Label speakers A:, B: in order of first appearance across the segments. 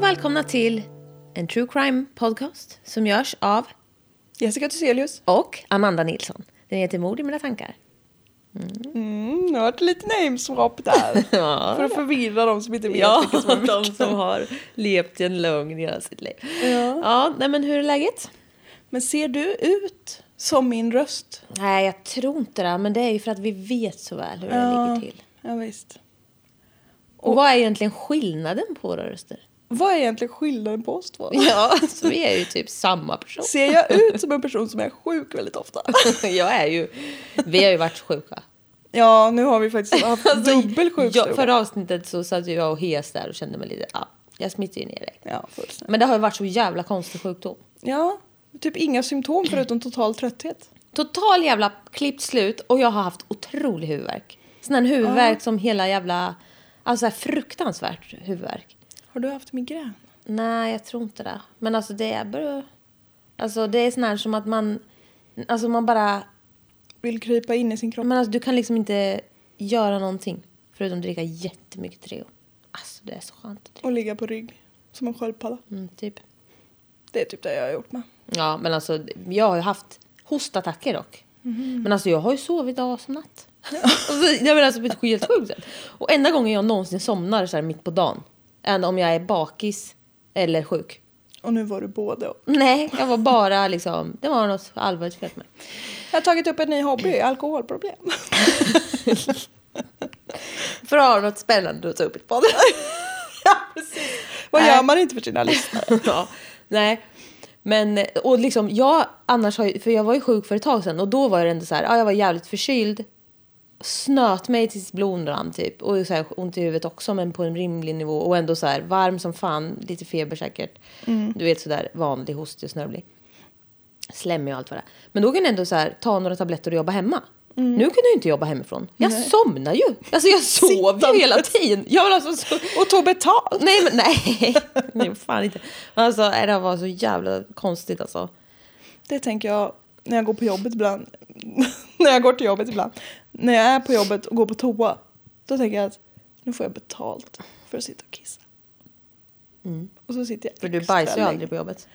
A: välkomna till en true crime podcast som görs av
B: Jessica Thyselius.
A: och Amanda Nilsson. Den heter Mord i mina tankar.
B: Mm, nu har du lite nameswap där.
A: Ja.
B: För att förvirra de som inte vet
A: Ja,
B: vilka som är
A: de som har levt i en lögn i hela sitt liv.
B: Ja.
A: ja, nej men hur är läget?
B: Men ser du ut som min röst?
A: Nej, jag tror inte det, men det är ju för att vi vet så väl hur det ligger till.
B: Ja, visst.
A: Och vad är egentligen skillnaden på våra röster?
B: Vad är egentligen skillnaden på oss två?
A: Ja, så vi är ju typ samma person.
B: Ser jag ut som en person som är sjuk väldigt ofta?
A: Jag är ju, vi har ju varit sjuka.
B: Ja, nu har vi faktiskt haft dubbel
A: Alltså, jag,
B: sjukstuga.
A: Förra avsnittet så satt ju jag och hes där och kände mig lite, ja, jag smittar ju ner dig.
B: Ja, fullständigt.
A: Men det har ju varit så jävla konstig sjukdom.
B: Ja, typ inga symptom förutom total trötthet.
A: Total jävla klippt slut och jag har haft otrolig huvudvärk. Sån här huvudvärk som hela jävla... Alltså så här fruktansvärt huvudvärk.
B: Har du haft migrän?
A: Nej, jag tror inte det. Men alltså det är bara... Alltså det är sån här som att man... Alltså man bara...
B: Vill krypa in i sin kropp?
A: Men alltså du kan liksom inte göra någonting. Förutom dricka jättemycket Treo. Alltså det är så skönt. att dricka.
B: Och ligga på rygg som en sköldpadda.
A: Mm, typ.
B: Det är typ det jag har gjort med.
A: Ja, men alltså jag har ju haft hostattacker dock. Men alltså jag har ju sovit dag som natt. alltså, jag menar alltså på ett helt sjukt sätt. Och enda gången jag någonsin somnar så här mitt på dagen. Än om jag är bakis eller sjuk.
B: Och nu var du både och.
A: Nej, jag var bara liksom, det var något allvarligt fel med mig.
B: Jag har tagit upp en ny hobby,
A: Mm.
B: alkoholproblem.
A: För att ha något spännande att ta upp i podden.
B: ja, precis. Vad
A: Nej.
B: gör man inte för sina lyssnare?
A: ja, nej. Men, och liksom, jag annars har ju, för jag var ju sjuk för ett tag sedan och då var det ändå så här, ja, jag var jävligt förkyld. Snöt mig tills blodet rann typ och så här, ont i huvudet också men på en rimlig nivå och ändå så här varm som fan, lite feber säkert. Du vet sådär vanlig hostig och snörvlig. Slemmig och allt vad det är. Men då kunde jag ändå så här, ta några tabletter och jobba hemma. Nu kunde jag ju inte jobba hemifrån. Jag somnade ju. Alltså jag sov ju hela tiden. Jag var alltså så...
B: Och tog betalt.
A: Nej, men nej. nej fan inte. Alltså, nej, det var så jävla konstigt alltså.
B: Det tänker jag när jag går på jobbet ibland. när jag går till jobbet ibland. När jag är på jobbet och går på toa. Då tänker jag att nu får jag betalt för att sitta och kissa. Och så sitter jag
A: Mm. För du
B: extra
A: bajsar ju
B: länge.
A: aldrig på jobbet.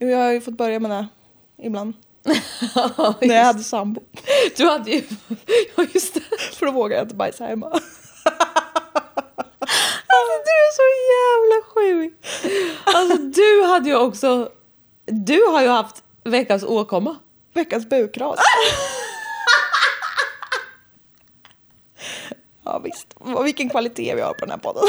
B: Jo, Jag har ju fått börja med det ibland. när jag hade sambo.
A: Du hade ju... Ja, just det.
B: För då vågar jag inte bajsa hemma.
A: Alltså, du är så jävla sjuk. Alltså, du hade ju också... Du har ju haft veckans åkomma.
B: Veckans bukras. ja visst, Vad- vilken kvalitet vi har på den här podden.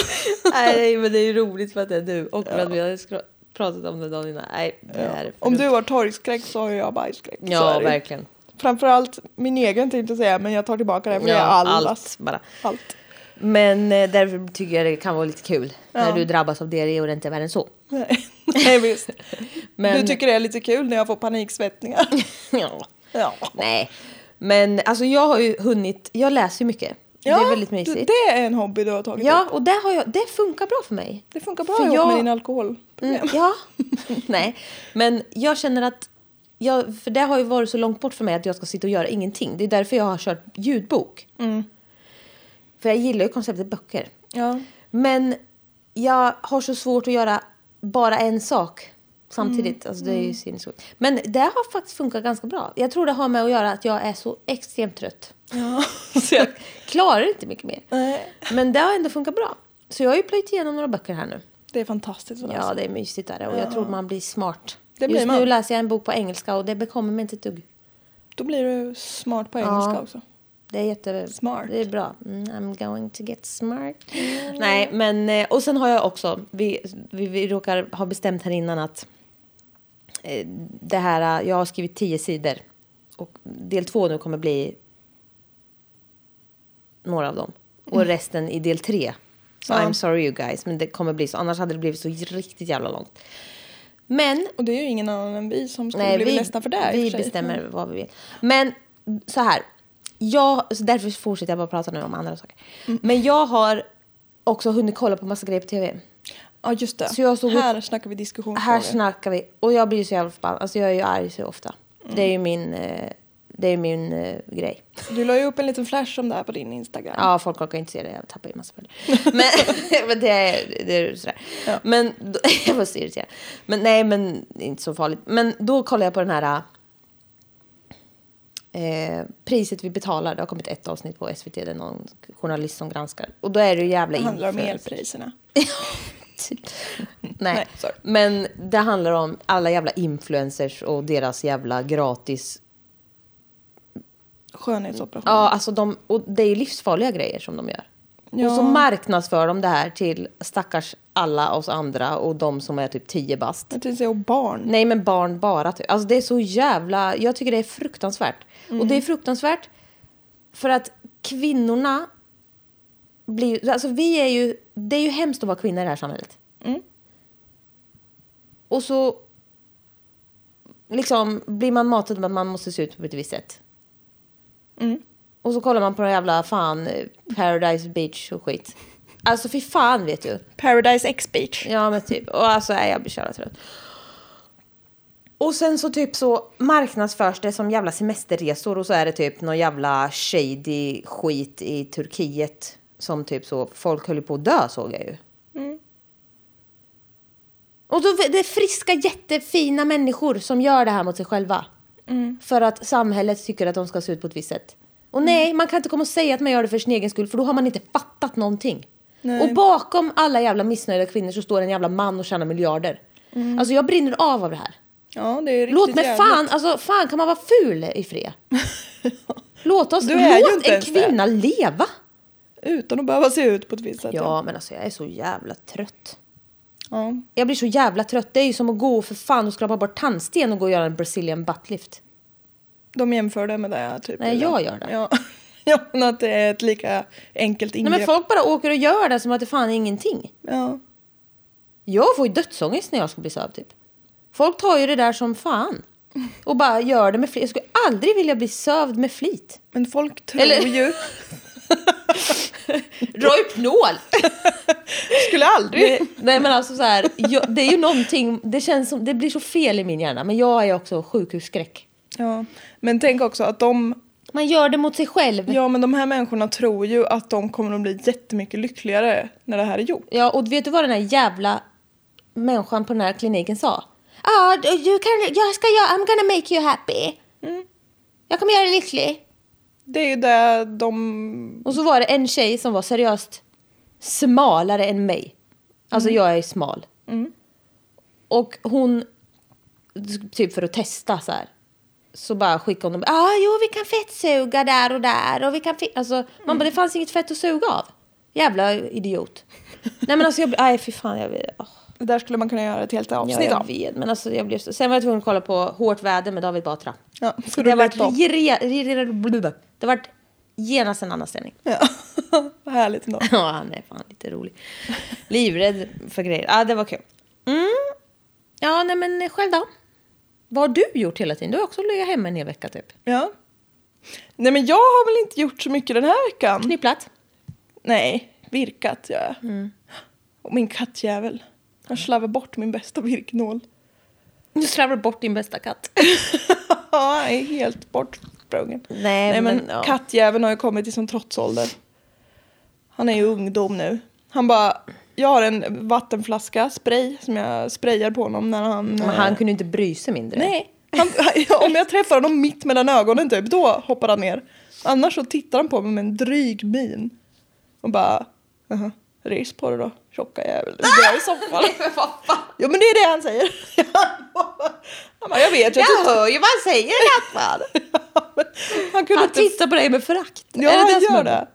A: Nej, men det är ju roligt för att det är du. Och för att vi hade skra- pratat om det dagen innan. Nej, det här är för
B: Om
A: dumt.
B: du har torgskräck så har jag bajsskräck. Så
A: Ja,
B: är det ju.
A: verkligen.
B: Framförallt min egen tänkte jag säga men jag tar tillbaka det för det är allas.
A: allt bara.
B: Allt.
A: Men eh, därför tycker jag det kan vara lite kul när
B: Ja.
A: du drabbas av diarré och det inte är värre än så.
B: Nej, Nej visst.
A: Men,
B: Du tycker det är lite kul när jag får paniksvettningar.
A: ja,
B: ja.
A: nej. Men alltså jag har ju hunnit, jag läser ju mycket. det är väldigt
B: du-
A: mysigt.
B: Det är en hobby du har tagit upp.
A: ja, och det, har jag, det funkar bra för mig.
B: Det funkar bra
A: För
B: ihop
A: jag-
B: med din alkohol.
A: Mm, ja, nej. Men jag känner att, jag, för det har ju varit så långt bort för mig att jag ska sitta och göra ingenting. Det är därför jag har kört ljudbok. För jag gillar ju konceptet böcker.
B: Mm. Ja.
A: Men jag har så svårt att göra bara en sak samtidigt. Alltså det är ju sinnessjukt. Men det har faktiskt funkat ganska bra. Jag tror det har med att göra att jag är så extremt trött.
B: ja.
A: Så jag klarar inte mycket mer.
B: Nej.
A: Men det har ändå funkat bra. Så jag har ju plöjt igenom några böcker här nu.
B: Det är fantastiskt att läsa.
A: Ja, det är mysigt där och jag tror man blir smart.
B: Det blir
A: Just nu
B: man.
A: läser jag en bok på engelska och det bekommer mig inte ett dugg.
B: Då blir du smart på engelska
A: Ja.
B: också.
A: Det är jätte...
B: Smart.
A: Det är bra. Mm, I'm going to get smart. Nej, men eh, och sen har jag också, vi, vi, vi råkar ha bestämt här innan att eh, det här, eh, jag har skrivit tio sidor och del två nu kommer bli några av dem och resten i del tre. Så
B: Ja.
A: I'm sorry you guys, men det kommer bli så. Annars hade det blivit så riktigt jävla långt. Men
B: Och det är ju ingen annan än vi som skulle bli ledsna för det. här i och
A: vi
B: för sig.
A: bestämmer vad vi vill. Men så här. Jag, så därför fortsätter jag bara prata nu om andra saker.
B: Mm.
A: Men jag har också hunnit kolla på massa grejer på tv.
B: Ja, just det.
A: Så jag såg
B: här snackar vi diskussionsfrågor. Mm.
A: Här snackar vi. Och jag blir ju så jävla förbannad. Alltså jag är ju arg så ofta. Det är ju min... eh, Det är min eh, grej.
B: Du la ju upp en liten flash om det här på din Instagram.
A: Ja, folk orkar inte se det. Jag tappar ju massa följare. Men, men det är, det är sådär.
B: Ja.
A: Men då, jag var så irriterad. Men nej, men det är inte så farligt. Men då kollade jag på den här eh, priset vi betalar. Det har kommit ett avsnitt på SVT. Det är någon journalist som granskar. Och då är det ju jävla
B: det handlar om
A: influencers.
B: elpriserna.
A: Typ. Nej.
B: Nej, sorry.
A: Men det handlar om alla jävla influencers och deras jävla gratis
B: Skönhetsoperation.
A: Ja, alltså de, och det är ju livsfarliga grejer som de gör.
B: Ja.
A: Och så marknadsför de det här till stackars alla oss andra och de som är typ 10 bast.
B: Jag tänkte säga och barn.
A: Nej, men barn bara. Typ. Alltså det är så jävla... Jag tycker det är fruktansvärt. Och
B: Mm.
A: det är fruktansvärt för att kvinnorna blir... Alltså vi är ju... Det är ju hemskt att vara kvinna i det här samhället.
B: Mm.
A: Och så liksom blir man matad med att man måste se ut på ett visst sätt.
B: Mm.
A: Och så kollar man på den jävla fan eh, Paradise Beach och skit. Alltså fy fan vet du.
B: Paradise X Beach.
A: Ja men typ. Och alltså nej, jag blir så jävla trött. Och sen så typ så marknadsförs det som jävla semesterresor och så är det typ någon jävla shady skit i Turkiet. Som typ så, folk höll ju på att dö såg jag ju. Och då, det är friska jättefina människor som gör det här mot sig själva.
B: Mm.
A: För att samhället tycker att de ska se ut på ett visst sätt. Och
B: Mm.
A: nej, man kan inte komma och säga att man gör det för sin egen skull för då har man inte fattat någonting.
B: Nej.
A: Och bakom alla jävla missnöjda kvinnor så står en jävla man och tjänar miljarder. Alltså jag brinner av av det här.
B: Ja, det är ju Mm. riktigt
A: Låt mig
B: jävligt.
A: fan, alltså fan kan man vara ful i fred? Låt oss,
B: Du är ju
A: låt
B: inte
A: en
B: ens det.
A: kvinna leva!
B: Utan att behöva se ut på ett visst sätt.
A: Ja men alltså jag är så jävla trött.
B: ja.
A: Jag blir så jävla trött. Det är ju som att gå för fan och skrapa bort tandsten och gå och göra en brazilian buttlift.
B: De jämför det med det typ.
A: Nej,
B: eller?
A: jag gör det.
B: Ja. ja, men att det är ett lika enkelt ingrepp.
A: Nej men folk bara åker och gör det som att det fan är ingenting.
B: Ja.
A: Jag får ju dödsångest när jag ska bli sövd typ. Folk tar ju det där som fan. Och bara gör det med flit. Jag skulle aldrig vilja bli sövd med flit.
B: Men folk tror
A: Eller-
B: ju...
A: Dra upp nål!
B: Skulle aldrig...
A: Nej, Nej men alltså så här, jag, det är ju någonting, det känns som, det blir så fel i min hjärna. Men jag är ju också sjukhusskräck.
B: Ja. Men tänk också att de...
A: Man gör det mot sig själv. Ja.
B: Ja, men de här människorna tror ju att de kommer att bli jättemycket lyckligare när det här är gjort.
A: och vet du vad den här jävla människan på den här kliniken sa? Ah, du you can, jag ska göra, I'm gonna make you happy. Jag kommer göra dig lycklig.
B: Det är ju det de...
A: Och så var det en tjej som var seriöst smalare än mig. Alltså jag är smal. Och hon, typ för att testa så här. Så bara skickade hon dem. ah, jo vi kan fettsuga där och där. Och vi kan fe-" alltså, Man bara det fanns inget fett att suga av. Jävla idiot. Nej men alltså jag blev, nej fy fan jag blev, åh.
B: Det där skulle man kunna göra ett helt
A: Ja,
B: avsnitt
A: jag
B: av.
A: vet, men alltså jag blev så... Sen var jag tvungen att kolla på Hårt väder med David Batra.
B: Ja,
A: Så det
B: för det
A: har varit
B: av.
A: re- re- re- blubba. Det har varit genast en annan ställning.
B: Ja. Vad härligt ändå.
A: Ja, han är fan lite rolig. Livrädd för grejer. Ja, det var kul. Mm. Ja, nej men själv då? Vad har du gjort hela tiden? Du har också legat hemma en hel vecka typ.
B: Ja. Nej, men jag har väl inte gjort så mycket den här veckan.
A: Knipplat?
B: Nej, virkat gör jag. Och min kattjävel. Han slarvar bort min bästa virknål.
A: Du slarvar bort din bästa katt.
B: Han är helt bortsprungen.
A: Nej,
B: Nej men,
A: men, ja.
B: kattjäveln har ju kommit till som trotsålder. Han är ju ungdom nu. Han bara, jag har en vattenflaska, spray, som jag sprayar på honom när han...
A: Men
B: eh,
A: han kunde ju inte bry sig mindre.
B: Nej. Han, ja, om jag träffar honom mitt mellan ögonen typ, då hoppar han ner. Annars så tittar han på mig med en dryg min. Och bara, jaha, res på dig då, tjocka jävel. Du dör i soffan.
A: men vad fan?
B: Jo men det är det han säger. Han bara, jag vet, jag tittar.
A: hör ju vad han säger i alla fall.
B: Han kunde
A: Han
B: inte...
A: tittar på dig med förakt.
B: Ja,
A: Är det
B: han
A: det som
B: gör
A: är-
B: det.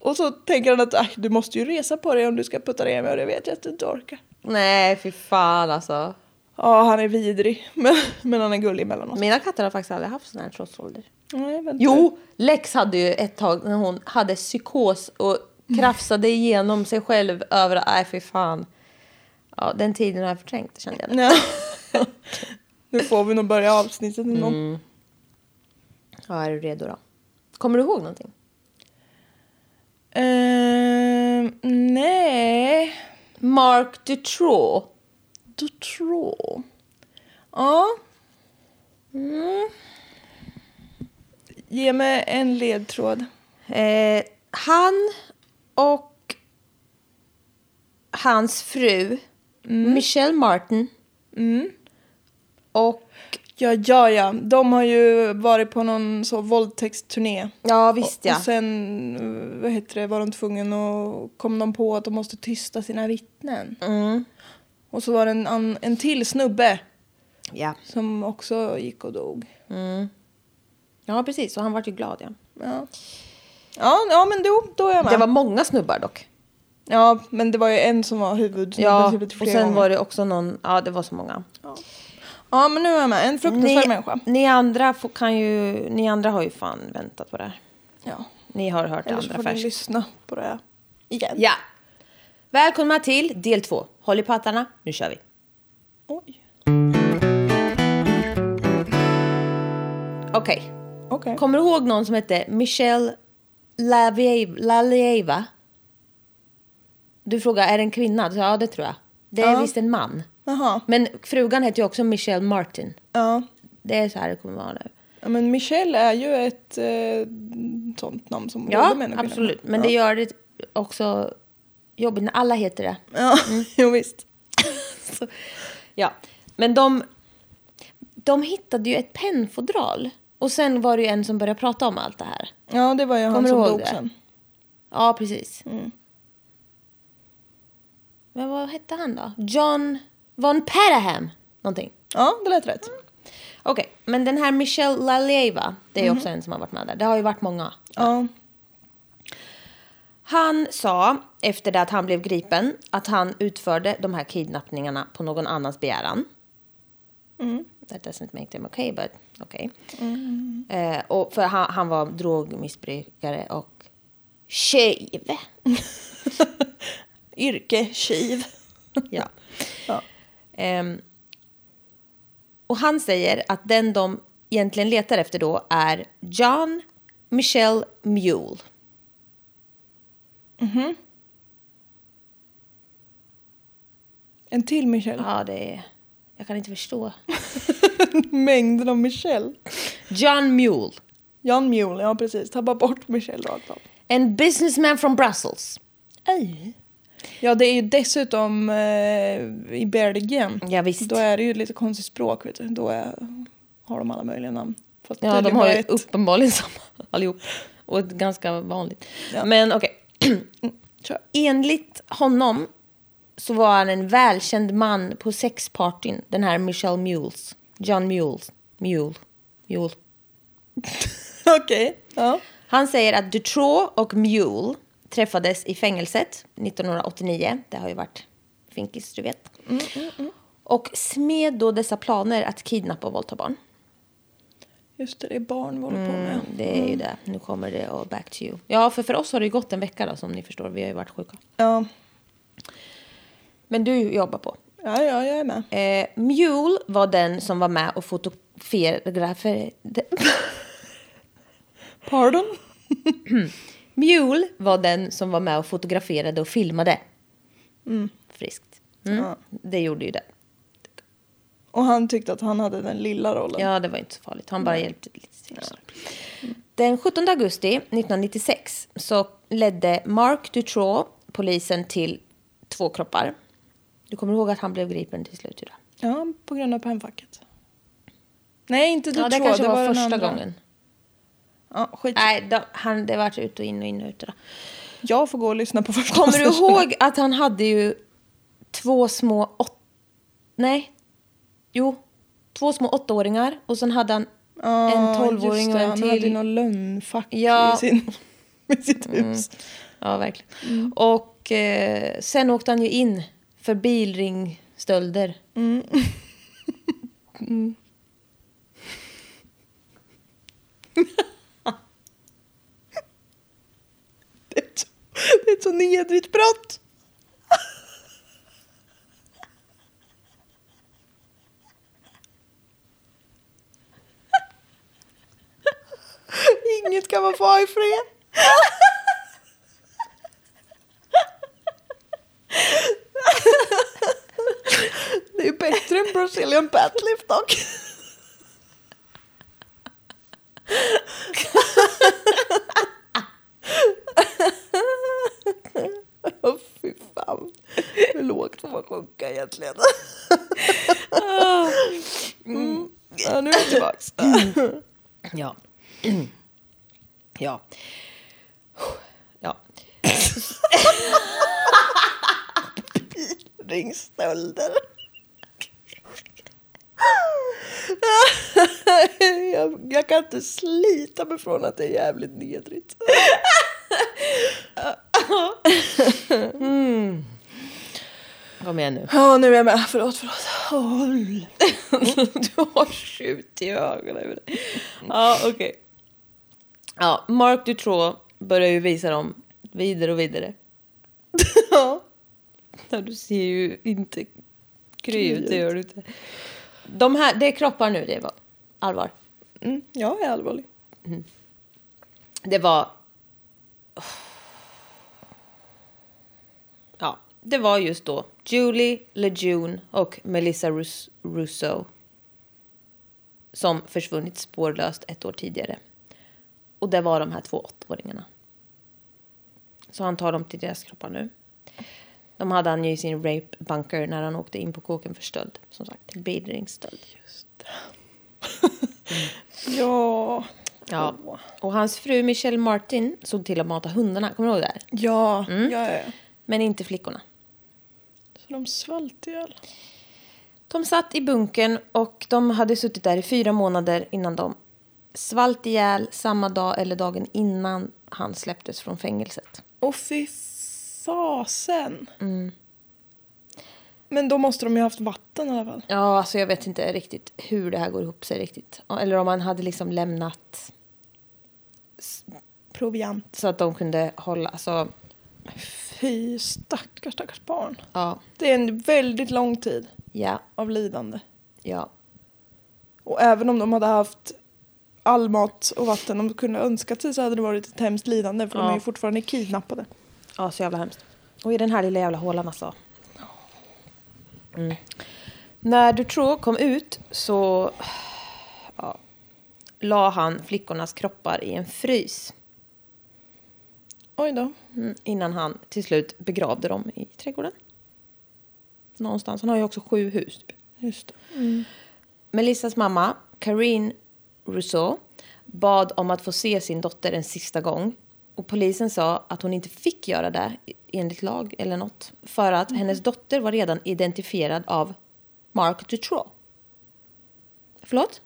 B: Och så tänker han att "Aj, du måste ju resa på dig om du ska putta ner mig och det vet jag att du inte orkar.
A: Nej, fy fan alltså.
B: Ja, han är vidrig. Men, men han är gullig emellanåt.
A: Mina katter har faktiskt aldrig haft sån här trotsålder.
B: Nej, vänta.
A: Jo, Lex hade ju ett tag när hon hade psykos och krafsade igenom sig själv över... Nej, fy fan. Ja, den tiden har jag förträngt, kände jag.
B: Nej. nu får vi nog börja avsnittet med någon.
A: Ja, är du redo då? Kommer du ihåg någonting?
B: Ehm, nej.
A: Mark Dutroux.
B: Du tror. Ja. Mm. Ge mig en ledtråd.
A: Eh, han och hans fru Michelle Martin och
B: Mm. Ja, ja, ja. De har ju varit på någon så våldtäktsturné.
A: ja visst
B: Och-
A: ja.
B: Och sen, eh, vad heter det, var de tvungna och kom de på att de måste tysta sina vittnen.
A: Mm.
B: Och så var det en, an- en till snubbe
A: ja.
B: som också gick och dog.
A: Mm. Ja precis och han vart ju glad ja.
B: Ja, ja, ja men då, då är jag med.
A: Det var många snubbar dock.
B: Ja, men det var ju en som var huvudsnubbe.
A: Ja
B: typ flera
A: och sen
B: gånger.
A: var det också någon, ja det var så många.
B: Ja, men nu är jag med. En fruktansvärd
A: Ni,
B: människa.
A: ni andra får, kan ju, ni andra har ju fan väntat på det här.
B: Ja.
A: Ni har hört det
B: Eller så
A: andra
B: får ni
A: först.
B: lyssna på det här igen.
A: Ja. Välkomna till del två. Håll i pattarna, nu kör vi.
B: Oj.
A: Okej.
B: Okej.
A: Kommer du ihåg någon som hette Michelle Lavie- Lalieva? Du frågade, är det en kvinna? Du sa, ja, det tror jag. Det är
B: Ja.
A: visst en man.
B: Jaha.
A: Men frugan hette ju också Michelle Martin.
B: Ja.
A: Det är så här det kommer vara nu.
B: ja. Men Michelle är ju ett eh, sånt namn som både
A: Ja,
B: män och kvinnor
A: absolut.
B: har.
A: Men
B: ja.
A: det gör det också jobbigt när alla heter det.
B: Ja,
A: Mm.
B: jo visst.
A: Så, ja, men de, de hittade ju ett pennfodral. Och sen var det ju en som började prata om allt det här.
B: Ja, det var ju han
A: Kommer
B: som
A: du ihåg
B: dog
A: det?
B: sen.
A: Ja, precis.
B: Mm.
A: Men vad hette han då? John von Peraham? Någonting.
B: Ja, det lät rätt.
A: Okej, men den här Michelle Lalieva, det är ju också en som har varit med där. Det har ju varit många.
B: Ja.
A: Han sa, efter det att han blev gripen, att han utförde de här kidnappningarna på någon annans begäran. That doesn't make them okay, but okay. Eh, och för han, han var drogmissbrukare och tjuv.
B: Yrke, tjuv.
A: ja.
B: Ja.
A: Ehm, och han säger att den de egentligen letar efter då är John Michelle Mule.
B: Mhm. En till Michelle.
A: Ja, det är... Jag kan inte förstå.
B: Mängden av Michelle.
A: John Mule.
B: Jan Mule, ja precis. Tappa bort Michelle rakt av.
A: En businessman from Brussels.
B: Ja, det är ju dessutom eh, i Belgien.
A: Ja, visst.
B: Då är det ju lite konstigt språk, vet du. Då är, har de alla möjliga namn. Fast
A: Ja, de
B: tydligen
A: har
B: bara
A: ju
B: ett.
A: uppenbarligen samma allihop. Och ett ganska vanligt.
B: Ja.
A: Men okej.
B: Kör.
A: Enligt honom så var han en välkänd man på sexpartyn. Den här Michelle Mules. John Mules. Mule. Mule.
B: Okej. Ja.
A: Han säger att Dutroux och Mule träffades i fängelset 1989. Det har ju varit finkis, du vet.
B: Mm,
A: Och smed då dessa planer att kidnappa och våldta barn.
B: Just det, det är barn vi håller på med.
A: Mm, det är ju det. Nu kommer det och back to you. Ja, för för oss har det ju gått en vecka då, som ni förstår. Vi har ju varit sjuka.
B: Ja.
A: Men du jobbar på.
B: ja, ja, jag är med.
A: Eh, Mule var den som var med och fotograferade...
B: Pardon?
A: Mule var den som var med och fotograferade och filmade. Friskt. Mm.
B: Ja.
A: Det gjorde ju det.
B: Och han tyckte att han hade den lilla rollen.
A: Ja, det var inte så farligt. Han bara hjälpte lite till. sådär. Den 17 augusti 1996 så ledde Mark Dutroux polisen till två kroppar. Du kommer ihåg att han blev gripen till slut? Julia?
B: Ja, på grund av pennfacket. Nej, inte typ du
A: Ja, det
B: tror.
A: kanske var,
B: den
A: första
B: andra.
A: gången.
B: Ja, skit.
A: Nej, då, han, det var ut och in och in och ut. och där.
B: Jag får gå och lyssna på första
A: Kommer du
B: avsnittet.
A: ihåg att han hade ju två små åt... Nej. Jo. Två små åttaåringar och sen hade han
B: Ja,
A: en tolvåring
B: just
A: och
B: det,
A: en
B: Han hade ju
A: till.
B: någon lönnfack
A: Ja. Mm.
B: i, sin, i sitt hus.
A: Ja, verkligen.
B: Mm.
A: Och eh, sen åkte han ju in för bilringstölder.
B: Det, är ett så, det är ett så nedrigt brott. Inget kan man få ha i fred. Det är ju bättre än Brazilian buttlift dock. lågt får man sjunka egentligen? Ah. mm. ja, nu är jag tillbaks.
A: Ja. ja. Ja.
B: Ringstölder. jag, jag kan inte slita mig från att det är jävligt nedrigt.
A: Mm. Kom igen nu.
B: Ja, nu är jag med. Förlåt, förlåt. Håll.
A: du har skjut i ögonen. över det. Ja, okej. Ja, Mark Dutroux börjar ju visa dem vidare och vidare.
B: Ja.
A: Ja, du ser ju inte kry ut, det
B: Kry ut.
A: gör du inte. De här, det är kroppar nu, det var allvar.
B: Mm, jag är allvarlig.
A: Det var... Ja, det var just då Julie LeJune och Melissa Rus- Russo som försvunnit spårlöst ett år tidigare. Och det var de här två åttaåringarna. Så han tar dem till deras kroppar nu. De hade han ju i sin rape bunker när han åkte in på kåken för stöld. Som sagt, till bedrängsstöld.
B: Ja.
A: Ja. Och hans fru Michelle Martin såg till att mata hundarna. Kommer du ihåg det här?
B: Ja, ja, ja. ja.
A: Men inte flickorna.
B: Så de svalt ihjäl.
A: De satt i bunkern och de hade suttit där i fyra månader innan de svalt ihjäl samma dag eller dagen innan han släpptes från fängelset. Mm.
B: Och fy fasen. Men då måste de ju haft vatten i alla fall.
A: Ja, alltså jag vet inte riktigt hur det här går ihop sig riktigt. Eller om han hade liksom lämnat
B: Proviant.
A: så att de kunde hålla, alltså
B: Fy stackars, stackars barn.
A: ja,
B: Det är en väldigt lång tid
A: ja,
B: av lidande.
A: ja.
B: Och även om de hade haft all mat och vatten de kunde önskat sig så hade det varit ett hemskt lidande för de
A: Ja.
B: är ju fortfarande kidnappade.
A: Ja, så jävla hemskt. Och i den här lilla jävla hålan alltså. Mm. När Dutroux kom ut så ja, la han flickornas kroppar i en frys.
B: Oj då.
A: Mm, innan han till slut begravde dem i trädgården. Någonstans. Han har ju också sju hus. Typ.
B: Just det.
A: Melissas mamma, Karine Rousseau, bad om att få se sin dotter en sista gång. Och polisen sa att hon inte fick göra det enligt lag eller något. För att hennes dotter var redan identifierad av Mark Dutroux. Förlåt?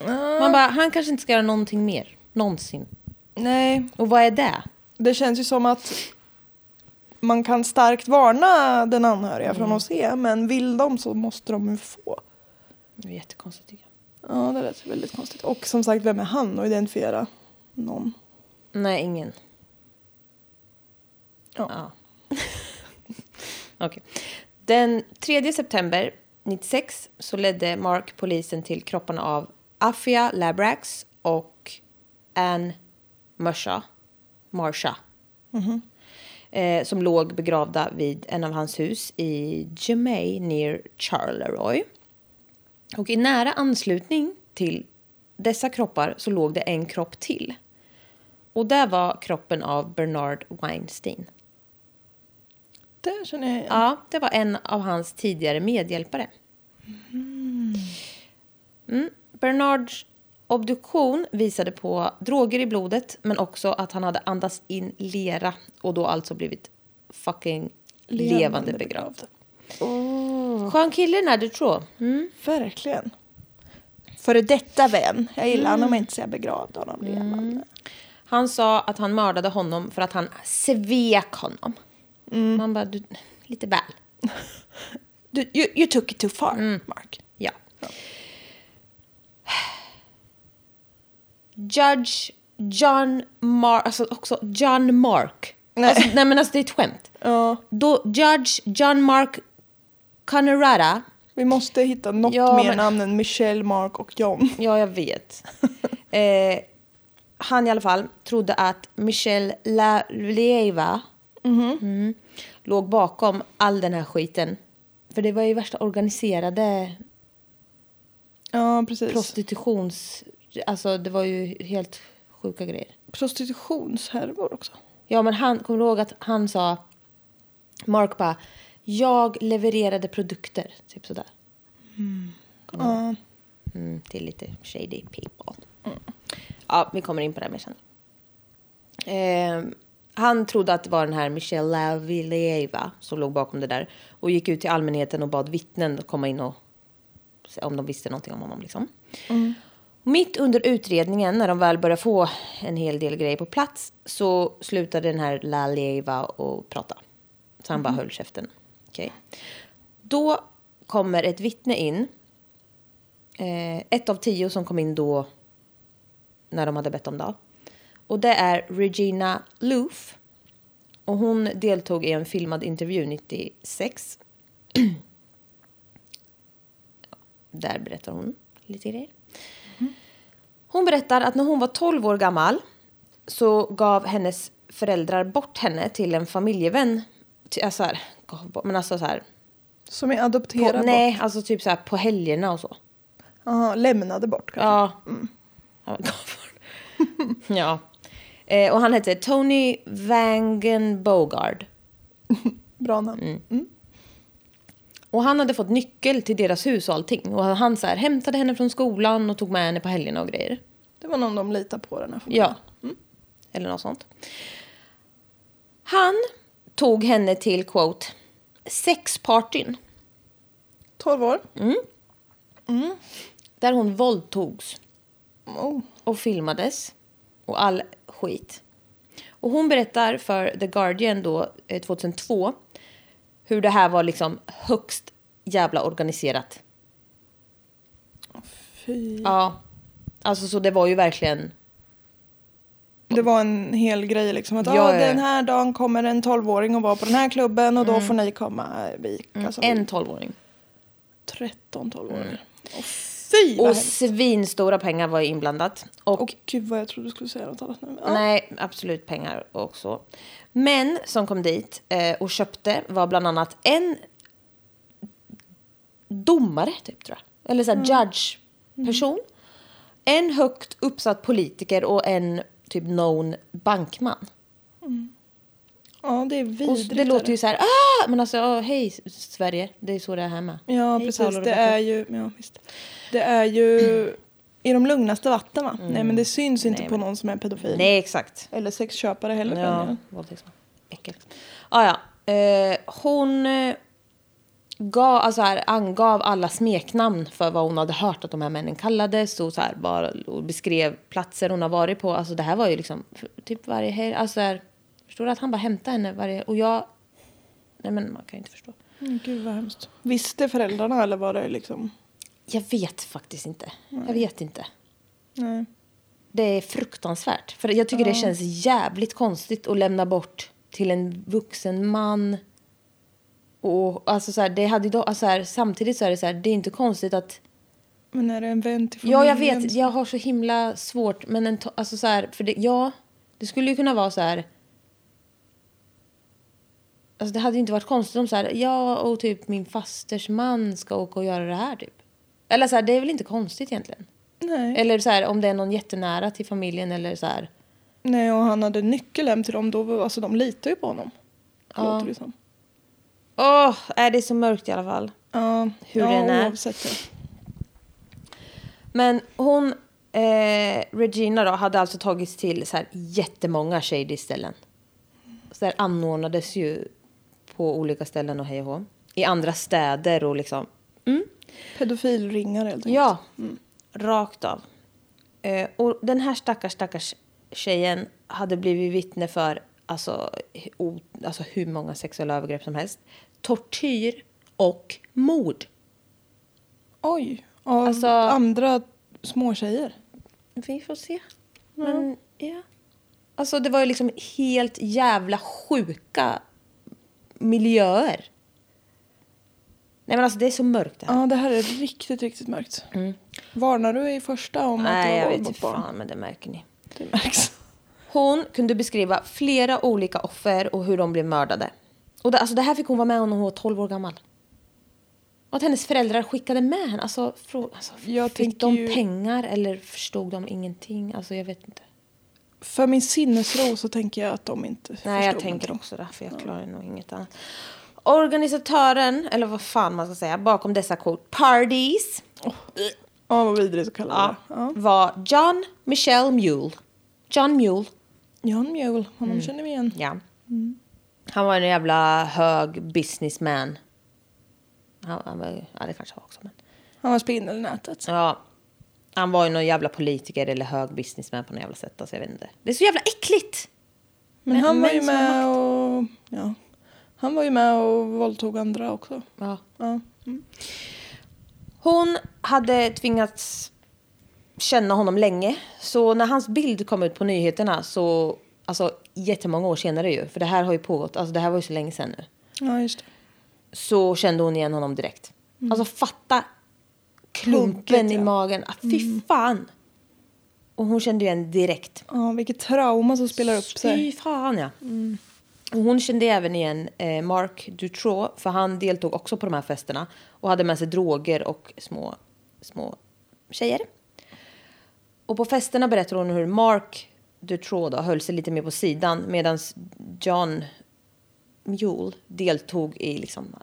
B: Ah.
A: Man bara, han kanske inte ska göra någonting mer. Någonsin.
B: Nej,
A: Och vad är det?
B: det känns ju som att man kan starkt varna den anhöriga från att se men vill de så måste de ju få.
A: Det är jättekonstigt tycker jag.
B: Ja, det lät väldigt konstigt. Och som sagt, vem är han att identifiera någon?
A: Nej, ingen.
B: Ja.
A: Okej. Den 3 september 96 så ledde Mark polisen till kropparna av Afia Labrax och Ann Marsha, Marsha
B: Mhm.
A: eh, som låg begravda vid en av hans hus i Jamaica near Charleroi. Och i nära anslutning till dessa kroppar så låg det en kropp till. Och där var kroppen av Bernard Weinstein.
B: Det känner jag igen.
A: Ja, det var en av hans tidigare medhjälpare. Mm. Bernards obduktion visade på droger i blodet men också att han hade andats in lera och då alltså blivit fucking levande, begravd. Mm. Skön kille den här Dutroux. Mm.
B: Verkligen. Före detta vän. Jag gillar
A: Mm.
B: honom inte så jag begravde honom levande.
A: Han sa att han mördade honom för att han svek honom. Man bara, du, lite väl.
B: Du, you, you took it too far,
A: Mm.
B: Mark.
A: Ja. Judge John Mark, alltså också John Mark. Nej.
B: Nej.
A: Alltså, nej men alltså det är ett skämt.
B: Ja,
A: Då, Judge John Mark Canerara.
B: vi måste hitta något
A: Ja,
B: mer
A: men-
B: namn än Michelle, Mark och John.
A: Ja, jag vet. eh, han i alla fall trodde att Michelle Lalieva mm, låg bakom all den här skiten. För det var ju värsta organiserade
B: Ja, precis.
A: prostitutions... Alltså det var ju helt sjuka grejer.
B: Prostitutionshärvor också.
A: Ja, men han, kommer du ihåg att han sa... Mark bara... Jag levererade produkter. Typ sådär.
B: Ja.
A: Mm, till lite shady people. Ja, vi kommer in på det här mer sen. Ehm, han trodde att det var den här Michelle Lavileva som låg bakom det där och gick ut till allmänheten och bad vittnen att komma in och se om de visste någonting om honom. Liksom. Mitt under utredningen, när de väl började få en hel del grejer på plats så slutade den här Lavileva att prata. Så han bara höll käften. Okej. Då kommer ett vittne in Eh, ett av tio som kom in då när de hade bett om det. Och det är Regina Loof. Och hon deltog i en filmad intervju 96. Där berättar hon lite grejer. Hon berättar att när hon var 12 år gammal så gav hennes föräldrar bort henne till en familjevän. Ty- Alltså här, gav bort, men alltså så här.
B: Som är
A: På,
B: adopterad bort.
A: nej, alltså typ så här på helgerna och så.
B: Aha, lämnade bort kanske. Mm.
A: Ja. Ja, men kom på. ja. Eh, och han hette Tony Vangen Bogard.
B: Bra namn. Mm.
A: Och han hade fått nyckel till deras hus och allting. Och han så här, hämtade henne från skolan och tog med henne på helgerna och grejer.
B: Det var någon de litar på den här familjen.
A: Ja. Mm. Eller något sånt. Han tog henne till, quote, sexpartyn.
B: 12 år.
A: Där hon våldtogs. Mm.
B: Oh.
A: och filmades och all skit. Och hon berättar för The Guardian då eh, 2002 hur det här var liksom högst jävla organiserat.
B: Fy.
A: Ja, alltså så det var ju verkligen.
B: Det var en hel grej liksom. Att,
A: Ja,
B: ah,
A: ja, ja.
B: Den här dagen kommer en 12-åring och vara på den här klubben och då får ni komma. Vi, alltså,
A: Mm. En tolvåring.
B: 13 12-åringar. Åh, fy vad
A: Och
B: hemskt.
A: svinstora pengar var ju inblandat. Och,
B: Och gud vad jag trodde du skulle säga något annat nu. Ja.
A: nej, absolut pengar också. Män som kom dit eh, och köpte var bland annat en domare, typ, tror jag. Eller så
B: Mm.
A: här judge-person. En högt uppsatt politiker och en typ known bankman.
B: ja, det är
A: Och
B: vidrigt.
A: det
B: är
A: låter ju så här, ah! Men alltså, ja, hej Sverige, det är så det är här med.
B: Ja,
A: Hej,
B: precis.
A: Paolo
B: Det
A: Roberto.
B: är ju... Ja, visst. Det är ju i de lugnaste vatten, va? Nej, men det syns inte
A: Mm. Nej,
B: på
A: men-
B: någon som är pedofil.
A: Nej, exakt.
B: Eller sexköpare heller. för den
A: Ja,
B: delen.
A: våldtäktsman. Äckligt. Ah, ja. eh, hon eh, gav, alltså här, angav alla smeknamn för vad hon hade hört att de här männen kallades och, så här, bara, och beskrev platser hon har varit på. Alltså det här var ju liksom f- typ varje helg. Alltså, så här, förstår du att han bara hämtade henne varje Och jag... Nej men man kan ju inte förstå.
B: Mm, Gud vad hemskt. Visste föräldrarna eller var det liksom?
A: Jag vet faktiskt inte. Jag vet inte.
B: Nej.
A: Det är fruktansvärt. För jag tycker det känns jävligt konstigt att lämna bort till en vuxen man. Och alltså så här, det hade ju då, alltså så här, samtidigt så är det så här, det är inte konstigt att...
B: Men är det en vän till
A: Ja,
B: familjen?
A: jag vet, jag har så himla svårt, men en, to- alltså så här, för det, ja, det skulle ju kunna vara så här... Alltså det hade ju inte varit konstigt om så här, ja, och typ min fasters man ska åka och göra det här typ. Eller så här, det är väl inte konstigt egentligen.
B: Nej.
A: Eller så här, om det är någon jättenära till familjen eller så här.
B: Nej, och han hade nyckel hem till dem. Då, var- alltså, de litar ju på honom.
A: Ja.
B: Låter det som.
A: Åh, är det är så mörkt i alla fall.
B: Ja,
A: Hur
B: ja,
A: den är.
B: Oavsett, ja.
A: Men hon, eh, Regina då, hade alltså tagits till så här jättemånga shady ställen. Så där anordnades ju på olika ställen och hej och hå. I andra städer och liksom. Mm.
B: Pedofilringar helt enkelt.
A: Ja, rakt av. Eh, och den här stackars, stackars tjejen hade blivit vittne för alltså, hu- o, alltså hur många sexuella övergrepp som helst. Tortyr och mord.
B: Oj. Av
A: Alltså-
B: andra småtjejer.
A: Vi får se. Men ja. Alltså det var ju liksom helt jävla sjuka miljöer. Nej men alltså det är så mörkt det här.
B: Ja, det här är riktigt, riktigt mörkt. Varnar du i första om
A: Mm. Nej
B: att
A: jag
B: det
A: vet inte
B: var mot barn?
A: fan men det märker ni.
B: Det märks.
A: Hon kunde beskriva flera olika offer och hur de blev mördade. Och det, alltså det här fick hon vara med om när hon var 12 år gammal. Och att hennes föräldrar skickade med henne. Alltså, frå, alltså
B: Jag
A: fick
B: tänker
A: de
B: ju-
A: pengar eller förstod de ingenting? Alltså jag vet inte.
B: För min sinnesro så tänker jag att de inte
A: Nej, jag
B: förstod
A: tänker
B: någonting.
A: också det, för jag klarar nog inget annat. Organisatören, eller vad fan man ska säga, bakom dessa kort, parties,
B: Ja, vad vidrigt att kalla
A: ja,
B: det. Ja.
A: var John Michel Mule. John Mule,
B: John Mule, honom
A: Mm.
B: känner vi igen.
A: ja. Han var en jävla hög businessman. Han, han var, ja, det kanske han var också. Men.
B: Han var spindel i nätet.
A: Ja. Han var ju någon jävla politiker eller hög businessman på något jävla sätt. Alltså jag vet inte. Det är så jävla äckligt!
B: Men
A: Men-
B: han var ju
A: män som har
B: med och... Ja. Han var ju med och våldtog andra också.
A: Ja.
B: Ja.
A: Hon hade tvingats känna honom länge. Så när hans bild kom ut på nyheterna så... Alltså jättemånga år senare ju. För det här har ju pågått. Alltså det här var ju så länge sedan nu.
B: ja, just det.
A: Så kände hon igen honom direkt. Alltså fatta klumpen
B: Klumpen,
A: i
B: ja.
A: magen. Ah, fy fan! Och hon kände igen direkt.
B: Ja, vilket trauma som spelar upp Mm. sig.
A: Fy fan ja. Och hon kände även igen eh, Mark Dutroux för han deltog också på de här festerna och hade med sig droger och små, små tjejer. Och på festerna berättar hon hur Mark Dutroux då höll sig lite mer på sidan medan John Mule deltog i liksom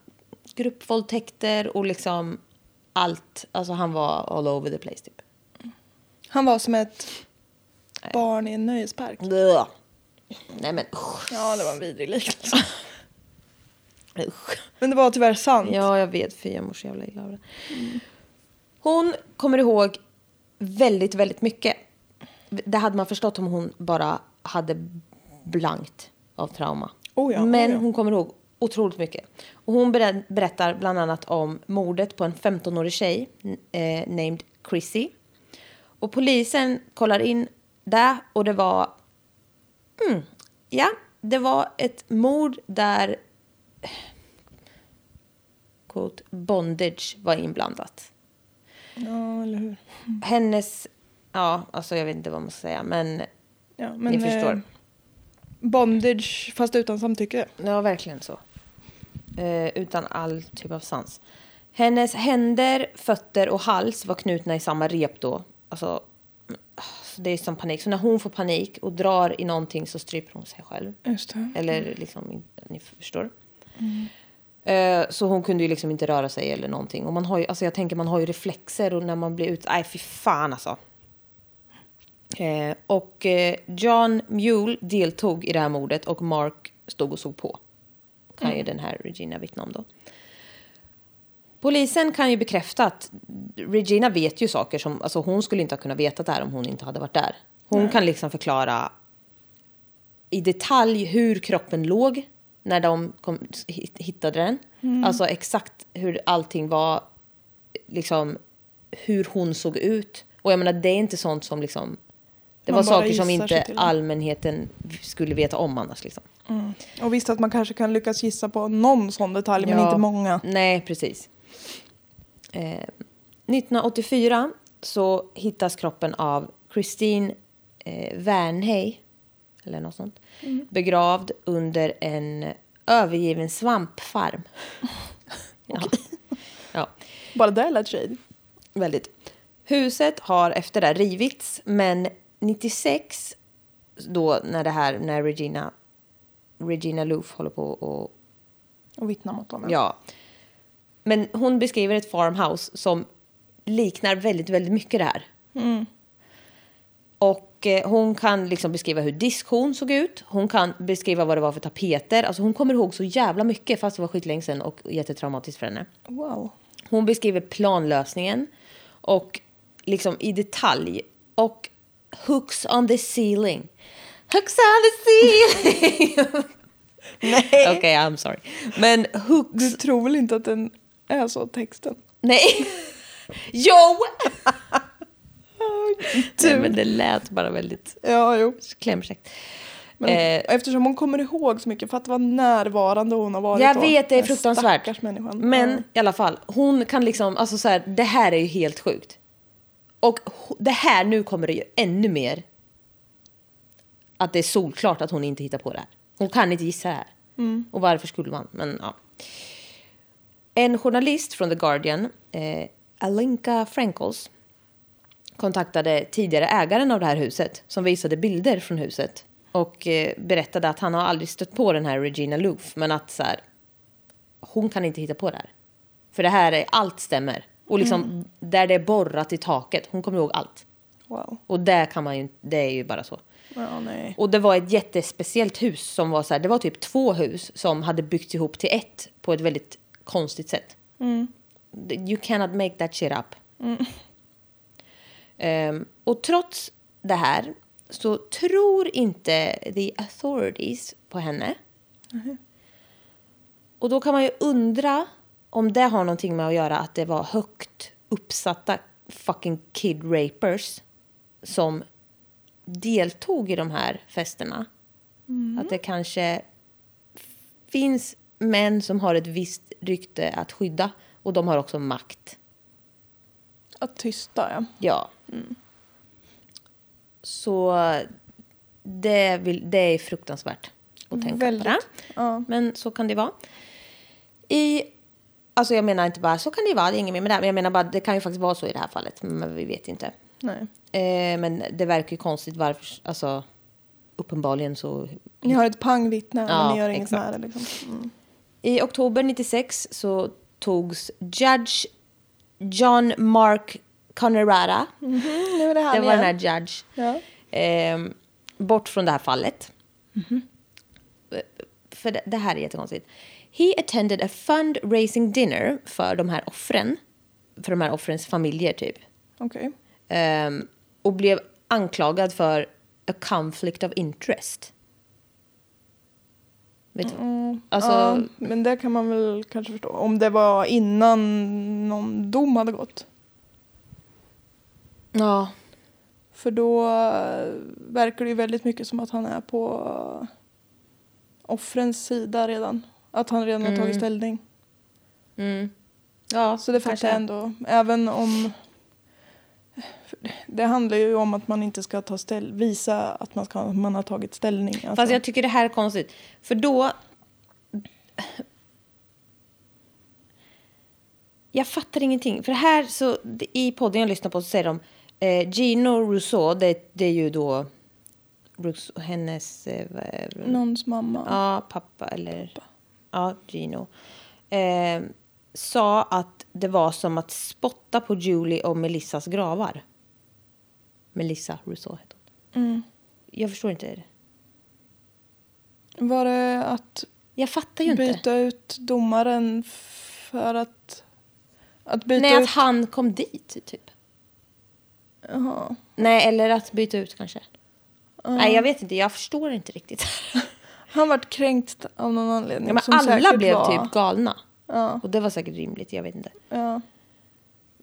A: gruppvåldtäkter och liksom allt. Alltså han var all over the place typ.
B: Han var som ett barn i en nöjespark.
A: Blå. Nej men usch.
B: Ja, det var en vidrig liknelse.
A: usch.
B: Men det var tyvärr sant.
A: Ja, jag vet. Fy, jag mår så jävla illa av det. Hon kommer ihåg väldigt, väldigt mycket. Det hade man förstått om hon bara hade blankt av trauma.
B: Oh ja, oh
A: Men
B: ja.
A: hon kommer ihåg otroligt mycket. Och hon berä- berättar bland annat om mordet på en 15-årig tjej eh, named Chrissy. Och polisen kollar in där och det var mm, Ja, det var ett mord där eh, quote, bondage var inblandat.
B: Ja, eller hur.
A: Hennes, ja, alltså jag vet inte vad man ska säga, men
B: Ja, men,
A: ni förstår.
B: eh, bondage, fast utan samtycke.
A: Det var verkligen så. Eh, utan all typ av sans. Hennes händer, fötter och hals var knutna i samma rep då. Alltså, mm, ah, det är som panik. Så när hon får panik och drar i någonting så stryper hon sig själv.
B: Just det.
A: Eller liksom, ni förstår. Eh, Så hon kunde ju liksom inte röra sig eller någonting. Och man har ju, alltså jag tänker man har ju reflexer och när man blir ut... Nej, fy fan alltså. Eh, Och eh, John Mule deltog i det här mordet och Mark stod och såg på. Kan ju den här Regina vittna om då. Polisen kan ju bekräfta att Regina vet ju saker som... Alltså hon skulle inte ha kunnat veta det här om hon inte hade varit där. Hon kan liksom förklara i detalj hur kroppen låg när de kom, hitt- hittade den.
B: Mm.
A: Alltså exakt hur allting var, liksom hur hon såg ut. Och jag menar det är inte sånt som liksom, det
B: Man
A: var
B: bara
A: saker som
B: gissar sig
A: inte
B: till.
A: allmänheten skulle veta om annars liksom.
B: Mm. Och visst att man kanske kan lyckas gissa på någon sån detalj, men
A: Ja.
B: inte många.
A: Nej, precis. Eh, 1984 så hittas kroppen av Christine eh, Wernhey, eller något sånt, begravd under en övergiven svampfarm. ja. ja,
B: Bara det lät shady.
A: väldigt. Huset har efter det här rivits, men 96, då när det här, när Regina, Regina Loof håller på och
B: Och vittna mot honom.
A: Ja. Men hon beskriver ett farmhouse som liknar väldigt, väldigt mycket det här. Och eh, hon kan liksom beskriva hur diskhon såg ut. Hon kan beskriva vad det var för tapeter. Alltså hon kommer ihåg så jävla mycket fast det var skitlänge sedan och jättetraumatiskt för henne.
B: Wow.
A: Hon beskriver planlösningen och liksom i detalj. Och hooks on the ceiling. Hooks on the ceiling!
B: Nej.
A: Okej, I'm sorry. Men hooks
B: Du tror väl inte att den är så, texten?
A: Nej. Jo! Nej,
B: Tur.
A: men det lät bara väldigt
B: Ja, jo.
A: klämkäckt.
B: Men
A: Eh.
B: eftersom hon kommer ihåg så mycket, för att vara närvarande hon har varit
A: Jag
B: då.
A: vet, det är
B: Den
A: fruktansvärt.
B: Stackars människan.
A: Men
B: Ja.
A: i alla fall, hon kan liksom, alltså så här, det här är ju helt sjukt. Och ho- det här, nu kommer det ju ännu mer att det är solklart att hon inte hittar på det här. Hon kan inte gissa det här.
B: Mm.
A: Och varför skulle man? Men ja. En journalist från The Guardian, eh, Alenka Frankels, kontaktade tidigare ägaren av det här huset som visade bilder från huset och eh, berättade att han har aldrig stött på den här Regina Loof men att så här, hon kan inte hitta på det här. För det här är, allt stämmer. Och liksom där det är borrat i taket, hon kommer ihåg allt.
B: Wow.
A: Och det kan man ju, det är ju bara så.
B: Ja, nej.
A: Och det var ett jättespeciellt hus som var så här, det var typ två hus som hade byggts ihop till ett på ett väldigt konstigt sätt. You cannot make that shit up. Ehm, och trots det här så tror inte the authorities på henne. Och då kan man ju undra om det har någonting med att göra att det var högt uppsatta fucking kid rapers som deltog i de här festerna. Att det kanske finns män som har ett visst rykte att skydda och de har också makt.
B: Att tysta, ja.
A: Ja. Så det, vill, det är fruktansvärt att tänka på det.
B: Väldigt. Ja.
A: Men så kan det vara. I, alltså jag menar inte bara så kan det vara, det är inget mer med det. Men jag menar bara det kan ju faktiskt vara så i det här fallet. Men vi vet inte.
B: Nej.
A: Eh, men det verkar ju konstigt varför, alltså uppenbarligen så
B: Ni har ett pangvittne
A: Ja,
B: men ni gör inget
A: exakt.
B: med det liksom. Mm.
A: I oktober 96 så togs judge John Mark Conerara,
B: Nu är Mm, det här
A: Mm. det var
B: igen.
A: den här judge,
B: Ja.
A: ehm, bort från det här fallet.
B: Mhm.
A: För det, det här är jättekonstigt. He attended a fundraising dinner för de här offren, för de här offrens familjer typ.
B: Okej.
A: Ehm, och blev anklagad för a conflict of interest. Vet du? Alltså,
B: Mm. ja, men det kan man väl kanske förstå. Om det var innan någon dom hade gått.
A: ja.
B: För då eh, verkar det ju väldigt mycket som att han är på eh, offrens sida redan. Att han redan har
A: Mm.
B: tagit ställning.
A: ja.
B: Så det fattar
A: kanske.
B: jag ändå. Även om... Det handlar ju om att man inte ska ta ställ visa att man, ska, man har tagit ställning. Alltså.
A: Fast jag tycker det här är konstigt. För då... Jag fattar ingenting. För här så, i podden jag lyssnar på så säger de eh, Gino Rousseau, det, det är ju då Rousseau, hennes... Eh, vad-
B: Någons mamma.
A: Ja, pappa eller... Ja, Gino. Eh, sa att det var som att spotta på Julie och Melissas gravar. Melissa Rousseau hette hon.
B: Mm.
A: Jag förstår inte det.
B: Var det att
A: Jag fattar ju inte.
B: byta ut domaren för att... Att byta
A: Nej, alltså att
B: ut...
A: han kom dit, typ.
B: Jaha.
A: Nej, eller att byta ut kanske. Nej, jag vet inte. Jag förstår inte riktigt.
B: Han vart kränkt av någon anledning.
A: ja, men
B: som
A: alla
B: säkert
A: blev
B: var-
A: typ galna.
B: Ja,
A: Och det var säkert rimligt, jag vet inte.
B: ja.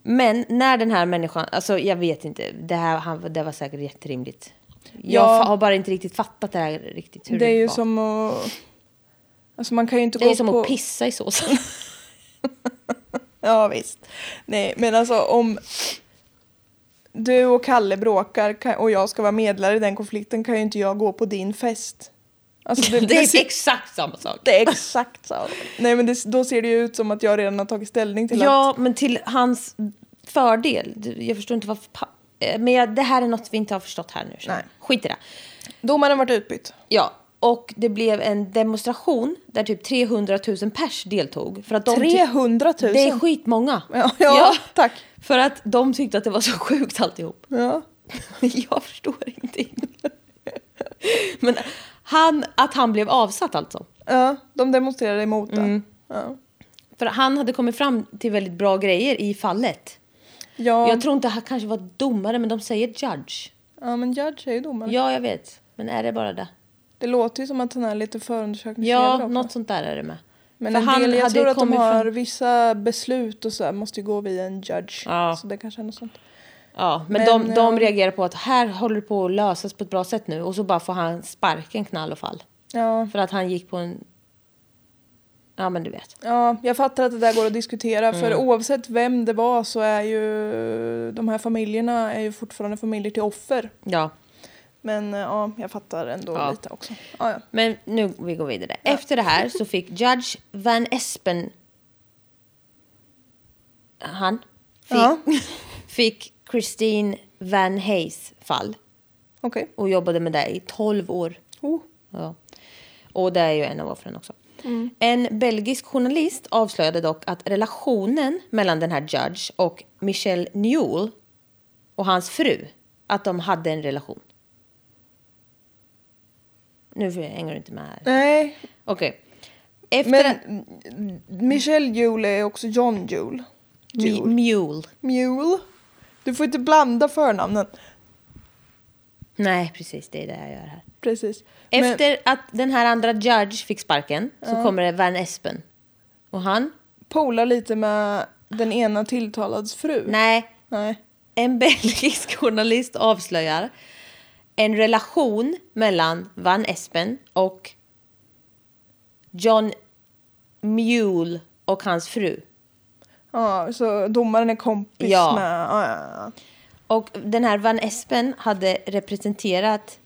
A: Men när den här människan, alltså jag vet inte, det, här, han, det var säkert jätterimligt. Jag
B: Ja.
A: fa- har bara inte riktigt fattat det här riktigt. Hur
B: Det är ju
A: var.
B: som att... Alltså man kan ju inte
A: det är
B: gå
A: som
B: på...
A: att pissa i såsen.
B: Ja visst. Nej men alltså om du och Kalle bråkar ka- och jag ska vara medlare i den konflikten kan ju inte jag gå på din fest. Alltså det,
A: det
B: det,
A: är
B: ser,
A: exakt samma sak.
B: det är exakt så. Nej men det, då ser det ju ut som att jag redan har tagit ställning till att...
A: Ja, men till hans fördel. Du, Jag förstår inte varför... Pa- eh, men jag, det här är något vi inte har förstått här nu. känner jag.
B: Nej.
A: Skit i det.
B: Domaren varit utbytt.
A: Ja, och det blev en demonstration där typ 300 000 pers deltog. För att de ty-
B: 300 000!
A: Det är skitmånga.
B: ja, ja, tack.
A: För att de tyckte att det var så sjukt alltihop.
B: Ja.
A: Jag förstår ingenting. Men han, att han blev avsatt alltså.
B: ja, de demonstrerade emot det.
A: Mm.
B: Ja.
A: För han hade kommit fram till väldigt bra grejer i fallet.
B: Ja,
A: Jag tror inte han kanske var domare, men de säger judge.
B: ja, men judge är ju domare.
A: Ja, jag vet. Men är det bara det?
B: Det låter ju som att han är lite förundersökningsledare
A: Ja,
B: också.
A: något sånt där är det med.
B: Men
A: För
B: en del, jag
A: hade
B: tror att de
A: kommit från-
B: har vissa beslut och så här, måste ju gå via en judge.
A: Ja.
B: Så det kanske är något sånt.
A: Ja, men,
B: Men,
A: de, de
B: ehm,
A: reagerar på att här håller det på att lösas på ett bra sätt nu och så bara får han sparken knall och fall.
B: Ja.
A: För att han gick på en... Ja, men du vet.
B: ja, jag fattar att det där går att diskutera för oavsett vem det var så är ju de här familjerna är ju fortfarande familjer till offer.
A: Ja.
B: Men eh, ja, jag fattar ändå
A: Ja.
B: lite också. Ja, ja.
A: Men nu vi går vidare. Efter det här så fick Judge Van Espen... Han fick,
B: Ja.
A: fick Christine Van Hayes fall
B: Okej.
A: och jobbade med det i 12 år.
B: Oh.
A: Ja. Och det är ju en av offren också.
B: Mm.
A: En belgisk journalist avslöjade dock att relationen mellan den här Judge och Michel Newell och hans fru, att de hade en relation. Nu hänger du inte med här.
B: Nej,
A: Okej. Efter
B: men Michelle Jule är också John Jule.
A: Mi-
B: Jule.
A: Mule.
B: Mule. Du får inte blanda förnamnen.
A: Nej, precis. Det är det jag gör här.
B: Precis. Men-
A: Efter att den här andra Judge fick sparken så kommer det Van Espen. Och han?
B: polar lite med den ena tilltalads fru.
A: Nej,
B: Nej.
A: en belgisk journalist avslöjar en relation mellan Van Espen och John Mule och hans fru.
B: Ja, så domaren är kompis
A: Ja.
B: med... Ja, ja, ja.
A: Och den här Van Espen hade representerat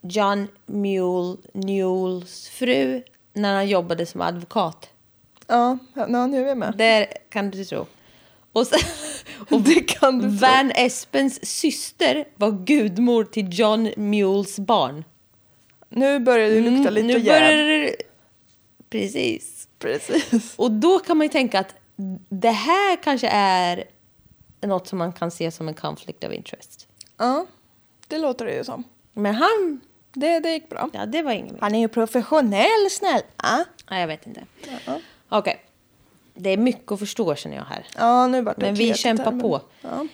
A: John Mule Newells fru när han jobbade som advokat.
B: ja. ja, ja, nu är jag med.
A: Det kan du tro. Och, sen, och
B: Det kan du tro.
A: Van Espens syster var gudmor till John Mules barn.
B: Nu börjar det lukta
A: Mm,
B: lite
A: nu
B: jäv.
A: börjar det... Precis.
B: Precis.
A: Och då kan man ju tänka att det här kanske är något som man kan se som en conflict of interest.
B: Ja, det låter det ju som.
A: Men han...
B: Det, det gick bra.
A: Ja, det var inget mer.
B: Han är ju professionell, snäll. Ja,
A: Nej, jag vet inte.
B: ja.
A: Okej. Det är mycket att förstå känner jag här.
B: ja nu vart det
A: Men vi
B: kletigt
A: kämpar
B: men-
A: på.
B: Ja.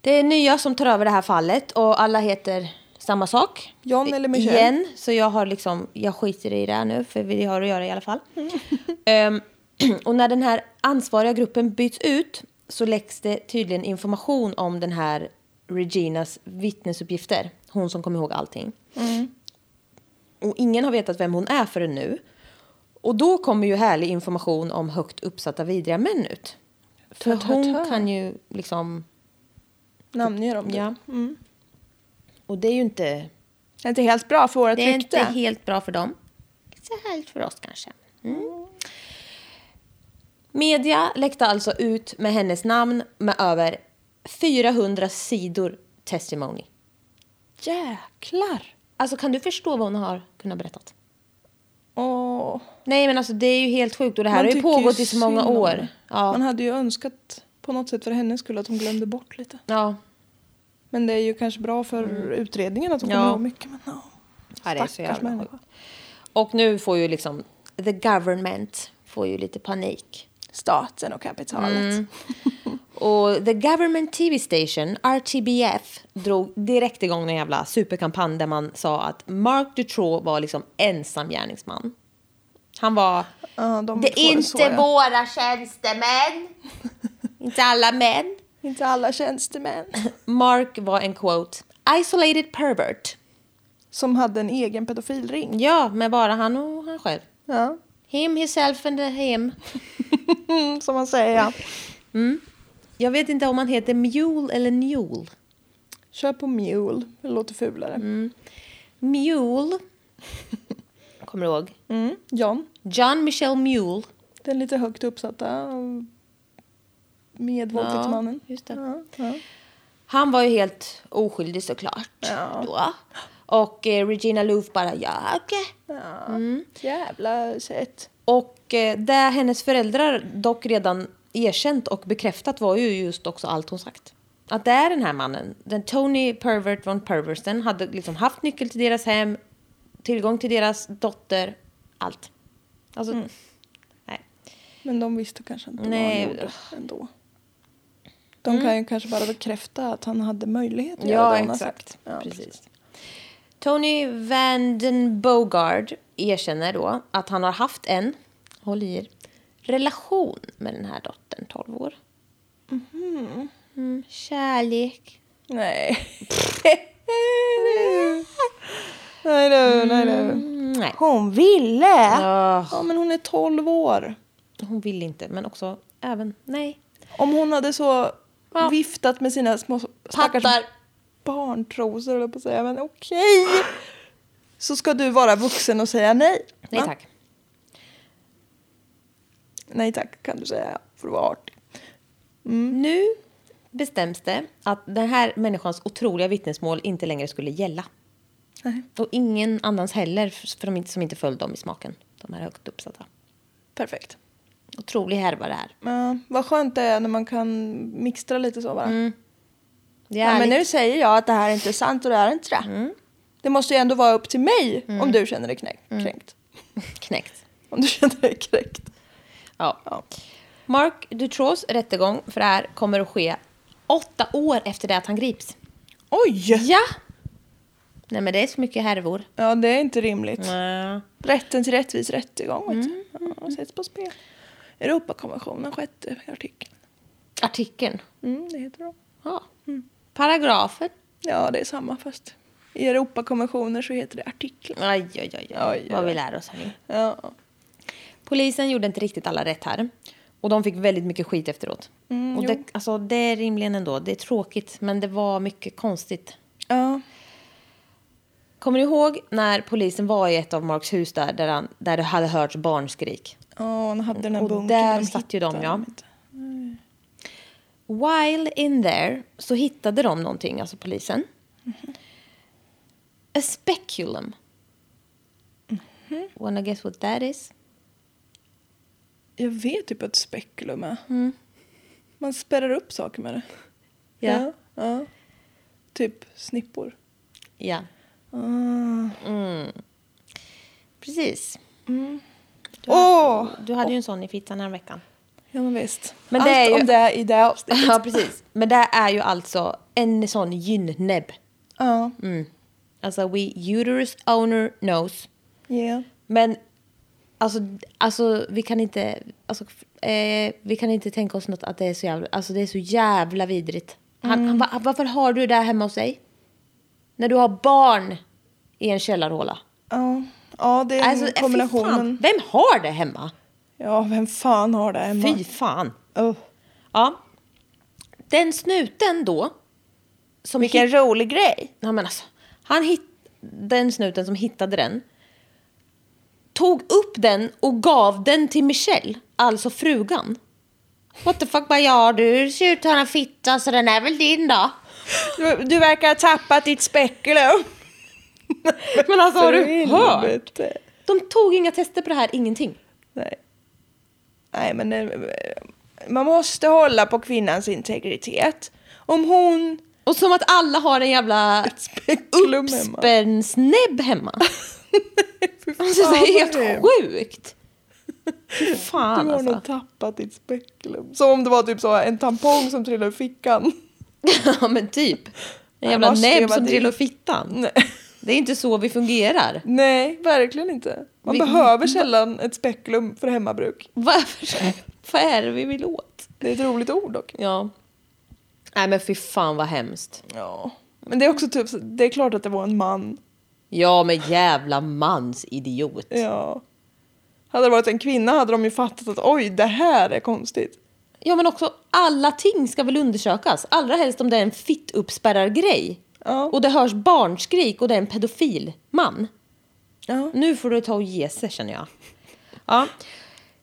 A: Det är nya som tar över det här fallet och alla heter samma sak.
B: John eller Michelle?
A: Igen, så jag har liksom, jag skiter i det här nu för vi har att göra i alla fall.
B: Mm.
A: Ehm, och när den här ansvariga gruppen byts ut så läcks det tydligen information om den här Reginas vittnesuppgifter. Hon som kom ihåg allting.
B: Mm.
A: Och ingen har vetat vem hon är förrän nu. Och då kommer ju härlig information om högt uppsatta vidriga män ut. För
B: Tö, tö,
A: hon
B: tö.
A: kan ju liksom...
B: Namnger dem.
A: Ja.
B: Mm.
A: Och det är ju inte...
B: Det är inte helt bra för vårt
A: Det är
B: rykte.
A: inte helt bra för dem. Så helt för oss kanske. Mm. Media läckte alltså ut med hennes namn med över 400 sidor testimony.
B: Jäklar!
A: Alltså kan du förstå vad hon har kunnat berättat?
B: Åh.
A: Nej men alltså det är ju helt sjukt och det här har ju
B: tycker
A: pågått i så
B: synd
A: många
B: om
A: år.
B: henne. Man
A: Ja.
B: hade ju önskat på något sätt för hennes skull att hon glömde bort lite.
A: Ja.
B: Men det är ju kanske bra för utredningen att hon
A: Mm. Ja.
B: kommer ihåg mycket. Men ja.
A: ja, det är så
B: Stackars
A: jävla
B: människa.
A: sjukt. Och nu får ju liksom the government får ju lite panik.
B: Staten och kapitalet.
A: Mm. Och The Government TV Station, RTBF, drog direkt igång en jävla superkampanj där man sa att Mark Dutroux var liksom ensam gärningsman. Han var...
B: Ja, de
A: det är
B: två
A: inte
B: såg jag.
A: våra tjänstemän! inte alla män.
B: Inte alla tjänstemän.
A: Mark var en quote, isolated pervert.
B: Som hade en egen pedofilring.
A: Ja, med bara han och han själv.
B: Ja.
A: Him, himself and him.
B: Mm, som man säger ja.
A: Jag vet inte om han heter Mule eller Newell.
B: Kör på mule. Det låter fulare.
A: Mm. Mule. Kommer du ihåg?
B: Mm. John.
A: John Michel Mule.
B: Den lite högt uppsatta eh, medvåldtäktsmannen.
A: Ja, just det.
B: Ja, ja.
A: Han var ju helt oskyldig såklart.
B: Ja.
A: Då. Och eh, Regina Loof bara ja, okej. Mm.
B: Ja. Jävla sätt.
A: Och eh, det hennes föräldrar dock redan erkänt och bekräftat var ju just också allt hon sagt. Att det är den här mannen, den Tony Pervert von Perversen, hade liksom haft nyckel till deras hem, tillgång till deras dotter, allt. Alltså, nej.
B: Men de visste kanske inte
A: Nej. Mm.
B: vad han gjorde ändå. De kan ju kanske bara bekräfta att han hade möjlighet att göra
A: Ja,
B: det han har
A: exakt.
B: sagt. Ja,
A: precis. Tony Vanden Bogard erkänner då att han har haft en, håll i er, relation med den här dottern, 12 år.
B: Mm-hmm.
A: Mm, kärlek.
B: Nej. nej du, nej du.
A: Mm, nej.
B: Hon ville!
A: Ah,
B: Ja men hon är 12 år.
A: hon vill inte, men också även, nej.
B: Om hon hade så
A: Ja.
B: viftat med sina små stackars
A: Pattar.
B: barntrosor höll jag på att säga, men okej. Så ska du vara vuxen och säga nej.
A: Nej
B: Va?
A: tack.
B: Nej tack kan du säga för att vara artig.
A: Nu bestäms det att den här människans otroliga vittnesmål inte längre skulle gälla.
B: Nej.
A: Och ingen annans heller för de inte, som inte föll dem i smaken. De här högt uppsatta.
B: Perfekt.
A: Otrolig härva det här.
B: Men vad skönt det är när man kan mixtra lite så bara.
A: Mm, Det är
B: Ja, men
A: lite-
B: nu säger jag att det här är inte sant och det här är inte det.
A: Mm.
B: Det måste ju ändå vara upp till mig om du känner dig knä-
A: Mm.
B: kränkt.
A: knäckt.
B: Om du känner dig kränkt.
A: Ja.
B: Ja.
A: Mark Dutroux rättegång för det här kommer att ske åtta år efter det att han grips.
B: Oj!
A: Ja! Nej men det är så mycket härvor.
B: Ja, det är inte rimligt.
A: Mm.
B: Rätten till rättvis rättegång vet du. ja, sätts på spel. Europakonventionen, sjätte artikeln.
A: Artikeln.
B: Mm, det heter de.
A: Ja. Paragrafen.
B: Ja, det är samma fast i Europakonventioner så heter det artiklar.
A: Aj, aj, aj,
B: Oj,
A: aj.
B: oj,
A: Vad vi
B: oj.
A: lär oss här nu.
B: Ja.
A: Polisen gjorde inte riktigt alla rätt här. Och de fick väldigt mycket skit efteråt.
B: Mm,
A: och
B: jo.
A: det, alltså, det är rimligen ändå, det är tråkigt, men det var mycket konstigt.
B: ja.
A: Kommer ni ihåg när polisen var i ett av Marks hus där, där, han, där det hade hörts barnskrik?
B: Ja, han hade den här
A: Och
B: bunkern.
A: där
B: de
A: satt ju de,
B: hittade
A: ja.
B: dem inte.
A: While in there så hittade de någonting, alltså polisen. A speculum. Wanna guess what that is?
B: Jag vet typ att spekulum är. Man spärrar upp saker med det.
A: Ja.
B: Ja. ja. Typ snippor.
A: Ja,
B: Åh!
A: precis.
B: Mm. Åh!
A: Du hade ju en sån i fittan här veckan.
B: Ja men visst.
A: Men
B: Allt
A: det är ju-
B: om det i det avsnittet.
A: Ja, precis. Men det är ju alltså en sån gynnebb.
B: Ja.
A: Alltså, we uterus owner knows.
B: Yeah.
A: Men alltså, alltså vi kan inte... Alltså, eh, vi kan inte tänka oss något att det är så jävla... Alltså det är så jävla vidrigt. Han, han, va- varför har du det där hemma hos dig? När du har barn i en källarhåla.
B: Ja. ja, det är
A: Alltså, eh,
B: en
A: fy
B: kombination.
A: fan.
B: men-
A: Vem har det hemma?
B: Ja, vem fan har det hemma?
A: Fy fan.
B: Oh.
A: Ja. Den snuten då. Som
B: Vilken
A: hitt-
B: rolig grej.
A: ja, men alltså, han hitt, Den snuten som hittade den. Tog upp den och gav den till Michelle. Alltså frugan. What the fuck bara ja du ser ut att ha en fitta så den är väl din då.
B: Du, du verkar ha tappat ditt spekulum.
A: Men alltså har du hört?
B: Helvete.
A: De tog inga tester på det här, ingenting.
B: Nej. Nej, men eh, man måste hålla på kvinnans integritet. Om hon...
A: Och som att alla har en jävla
B: spekulum hemma.
A: uppspännsnäbb hemma.
B: Fy fan,
A: Alltså det
B: vad
A: är helt
B: hemskt.
A: sjukt. Fy
B: Du
A: fan
B: har
A: alltså.
B: nog tappat ditt spekulum. Som om det var typ så en tampong som trillade ur fickan.
A: Ja men typ. En
B: Jag
A: jävla
B: måste ju
A: näbb
B: vara
A: som
B: dit.
A: trillar ur fittan.
B: Nej.
A: Det är inte så vi fungerar.
B: Nej, verkligen inte. Man
A: Vi- Mm.
B: behöver sällan ett spekulum för hemmabruk.
A: Varför? Vad är det vi vill åt?
B: Det är ett roligt ord dock.
A: Ja. Nej men fy fan vad hemskt.
B: Ja. Men det är också typ, så- det är klart att det var en man.
A: Ja men jävla mansidiot.
B: Ja. Hade det varit en kvinna hade de ju fattat att oj, det här är konstigt.
A: Ja men också alla ting ska väl undersökas. Allra helst om det är en fittuppspärrargrej.
B: Ja.
A: Och det hörs barnskrik och det är en pedofil man.
B: Ja.
A: Nu får du ta och ge sig känner jag. Ja.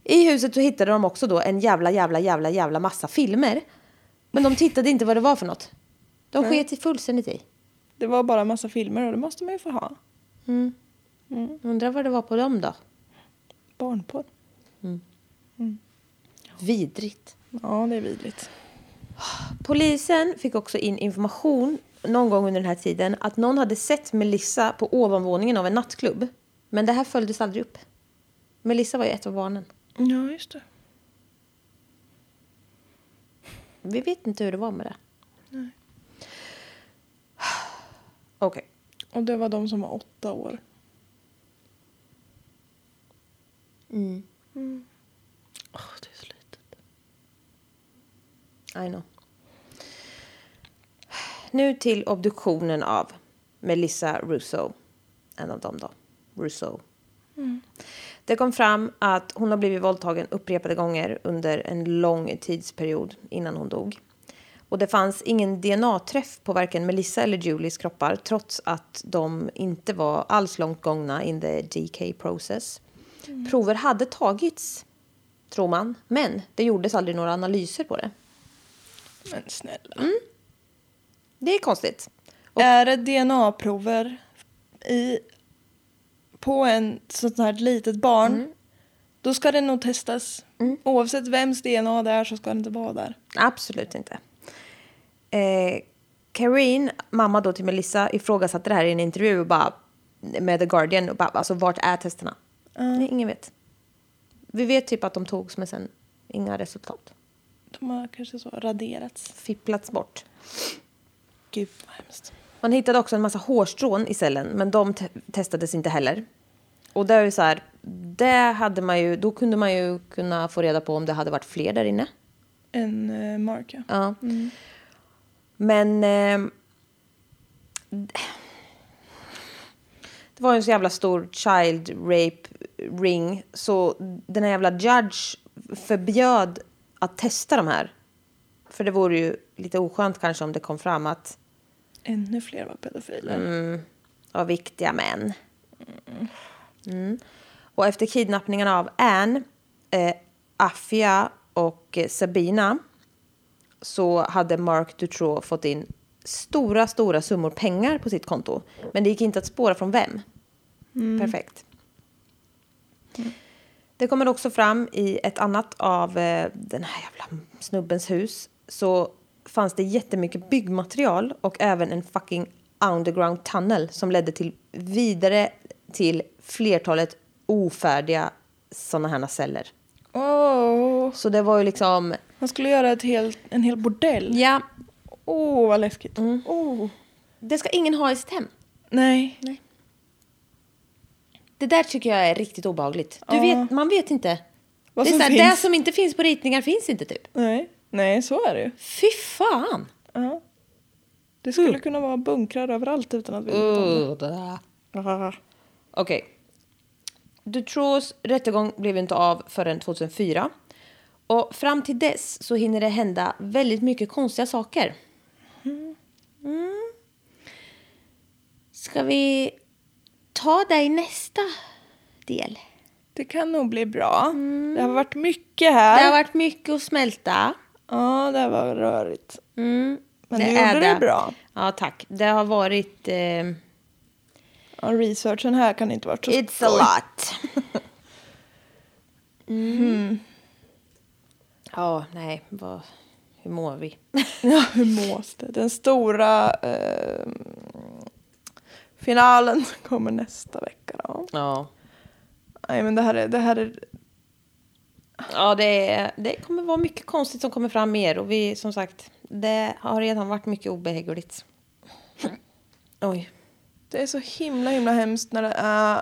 A: I huset så hittade de också då en jävla, jävla, jävla, jävla massa filmer. Men de tittade inte vad det var för något. De
B: Nej.
A: sket i fullständigt i.
B: Det var bara en massa filmer och det måste man ju få ha.
A: Mm. Undrar vad det var på dem då?
B: Barnporr.
A: Vidrigt.
B: Ja, det är vidrigt.
A: Polisen fick också in information någon gång under den här tiden att någon hade sett Melissa på ovanvåningen av en nattklubb. Men det här följdes aldrig upp. Melissa var ju ett av barnen.
B: Ja, just det.
A: Vi vet inte hur det var med det.
B: Nej.
A: Okej.
B: Och det var de som var åtta år.
A: Mm.
B: Åh, det är så litet.
A: I know. Nu till obduktionen av Melissa Russo. En av dem då. Russo. Det kom fram att hon har blivit våldtagen upprepade gånger under en lång tidsperiod innan hon dog. Och det fanns ingen DNA-träff på varken Melissa eller Julies kroppar trots att de inte var alls långt gångna in the DK process. Prover hade tagits, tror man, men det gjordes aldrig några analyser på det.
B: Men snälla.
A: Det är konstigt.
B: Är det DNA-prover i, på en sånt här litet barn då ska det nog testas. Oavsett vems DNA det är så ska det inte vara där.
A: Absolut inte. Eh, Kareen, mamma då till Melissa, ifrågasatte det här i en intervju och bara, med The Guardian. Och bara, alltså, vart är testerna? Nej, ingen vet. Vi vet typ att de togs, men sen inga resultat.
B: De har kanske så raderats.
A: Fipplats bort.
B: Gud vad hemskt.
A: Man hittade också en massa hårstrån i cellen, men de te- testades inte heller. Och det är ju så här, det hade man ju, då kunde man ju kunna få reda på om det hade varit fler där inne.
B: En uh, marka.
A: Ja.
B: Mm.
A: Men... ehm, det var ju en så jävla stor child rape ring, så den här jävla judge förbjöd att testa de här. För det vore ju lite oskönt kanske om det kom fram att
B: Ännu fler var pedofiler.
A: av viktiga män. Mm. Och efter kidnappningarna av Anne, eh, Afia och eh, Sabina så hade Mark Dutroux fått in stora, stora summor pengar på sitt konto. Men det gick inte att spåra från vem. Perfekt. Det kommer också fram i ett annat av eh, den här jävla snubbens hus så fanns det jättemycket byggmaterial och även en fucking underground tunnel som ledde till vidare till flertalet ofärdiga sådana här celler.
B: Åh,
A: Så det var ju liksom...
B: Han skulle göra ett helt, en hel bordell.
A: Ja,
B: Åh, vad läskigt. Åh.
A: det ska ingen ha i sitt hem.
B: Mm. Nej.
A: Det där tycker jag är riktigt obehagligt. Du
B: Ja.
A: vet, man vet inte.
B: Vad
A: det, är
B: som
A: så här,
B: finns.
A: det som inte finns på ritningar finns inte typ.
B: Nej. Nej, så är det ju.
A: Fy fan!
B: Ja. Det skulle kunna vara bunkrar överallt utan att vi vet om det. Ahaha.
A: Okej. Dutroux rättegång blev inte av förrän 2004. Och fram till dess så hinner det hända väldigt mycket konstiga saker. Mm. Ska vi ta det i nästa del?
B: Det kan nog bli bra. Det har varit mycket här.
A: Det har varit mycket att smälta.
B: Ja, det var rörigt.
A: Mm.
B: Men du gjorde det bra.
A: Ja, tack. Det har varit... Eh,
B: Ja, researchen här kan inte varit så
A: It's a
B: skoj.
A: lot. Mm. Ja, nej, vad, hur mår vi?
B: Ja, hur mås det? Den stora eh, finalen kommer nästa vecka då.
A: ja.
B: Nej, men det här är... Det här är
A: Ja, det, är- det kommer vara mycket konstigt som kommer fram mer och vi, som sagt, det har redan varit mycket obehagligt. Oj.
B: Det är så himla himla hemskt när det är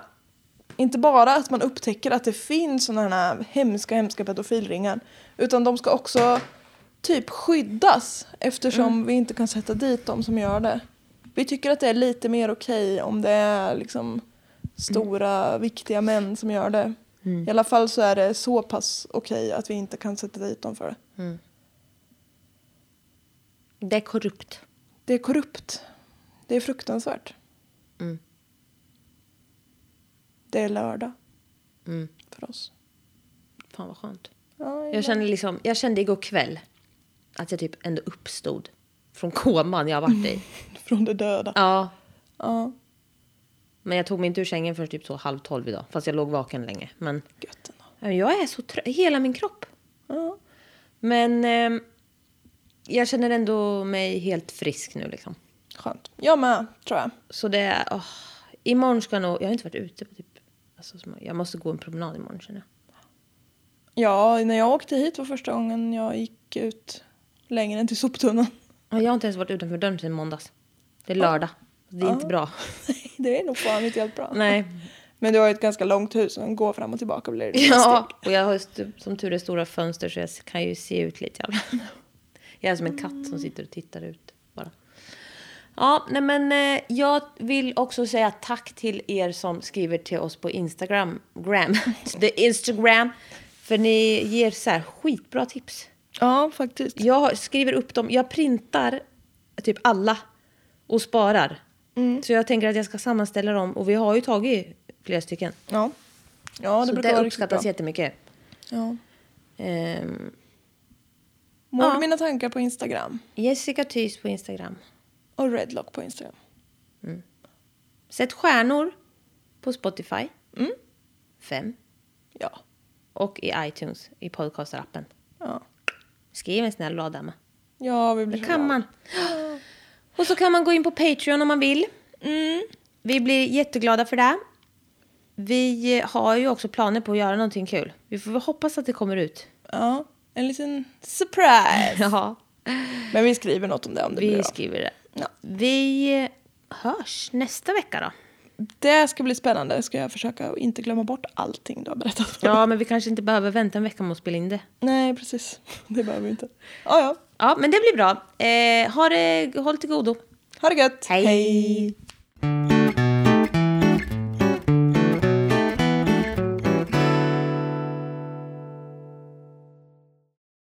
B: inte bara att man upptäcker att det finns sådana här hemska hemska pedofilringar utan de ska också typ skyddas eftersom vi inte kan sätta dit de som gör det. Vi tycker att det är lite mer okej om det är liksom stora viktiga män som gör det. I alla fall så är det så pass okej att vi inte kan sätta dit dem för det.
A: Det är korrupt.
B: Det är korrupt. Det är fruktansvärt. Det är lördag
A: Mm.
B: för oss.
A: Fan vad skönt.
B: Ja,
A: Jag kände, liksom, jag kände igår kväll att jag typ ändå uppstod från koman jag har varit i.
B: Från det döda.
A: Ja,
B: Ja,
A: men jag tog mig inte ur sängen förrän typ så halv tolv idag. Fast jag låg vaken länge. Men
B: gött ändå.
A: Ja, men Jag är så trött, hela min kropp.
B: Ja.
A: Men ehm, jag känner ändå mig helt frisk nu liksom.
B: Skönt. Jag med, tror jag.
A: Så det är, åh. imorgon ska jag nog, jag har inte varit ute på typ, alltså, som- jag måste gå en promenad imorgon känner jag.
B: Ja, när jag åkte hit var första gången jag gick ut längre än till soptunnan.
A: Ja, Jag har inte ens varit utanför dörren sedan måndags. Det är lördag. Det är inte bra.
B: Nej, det är nog fan inte helt bra.
A: Nej.
B: Men du har ju ett ganska långt hus, och går fram och tillbaka blir det
A: Ja,
B: steg.
A: och jag har ju st- som tur är stora fönster så jag s- kan ju se ut lite. Jävla. Jag är som en katt
B: Mm.
A: som sitter och tittar ut bara. Ja, nej men eh, jag vill också säga tack till er som skriver till oss på Instagram. Gram. The Instagram. För ni ger så här skitbra tips.
B: Ja, faktiskt.
A: Jag har- skriver upp dem. Jag printar typ alla och sparar.
B: Mm.
A: Så jag tänker att jag ska sammanställa dem. Och vi har ju tagit flera stycken.
B: Ja, ja det
A: så
B: brukar
A: det
B: vara riktigt bra.
A: uppskattas jättemycket.
B: Ja.
A: Ehm,
B: Mål
A: Ja.
B: mina tankar på Instagram
A: Jessica Thys på Instagram.
B: och Redlock på Instagram.
A: Sätt stjärnor på Spotify.
B: Mm.
A: Fem.
B: Ja.
A: Och i iTunes, i podcastappen.
B: Ja,
A: Skriv en snäll rad där med.
B: ja vi blir
A: Det
B: så
A: kan
B: glada.
A: man. Och så kan man gå in på Patreon om man vill.
B: Mm.
A: Vi blir jätteglada för det. Vi har ju också planer på att göra någonting kul. Vi får väl hoppas att det kommer ut.
B: Ja, en liten surprise.
A: Ja,
B: Men vi skriver något om det om det blir
A: vi
B: av.
A: skriver det.
B: Ja.
A: Vi hörs nästa vecka då.
B: Det ska bli spännande. Ska jag försöka att inte glömma bort allting du har berättat?
A: Ja, men vi kanske inte behöver vänta en vecka med att spela in det.
B: Nej, precis. Det behöver vi inte. Ja, ja.
A: Ja, men det blir bra. Eh, ha det, håll till godo.
B: Ha det gött.
A: Hej.
B: Hej.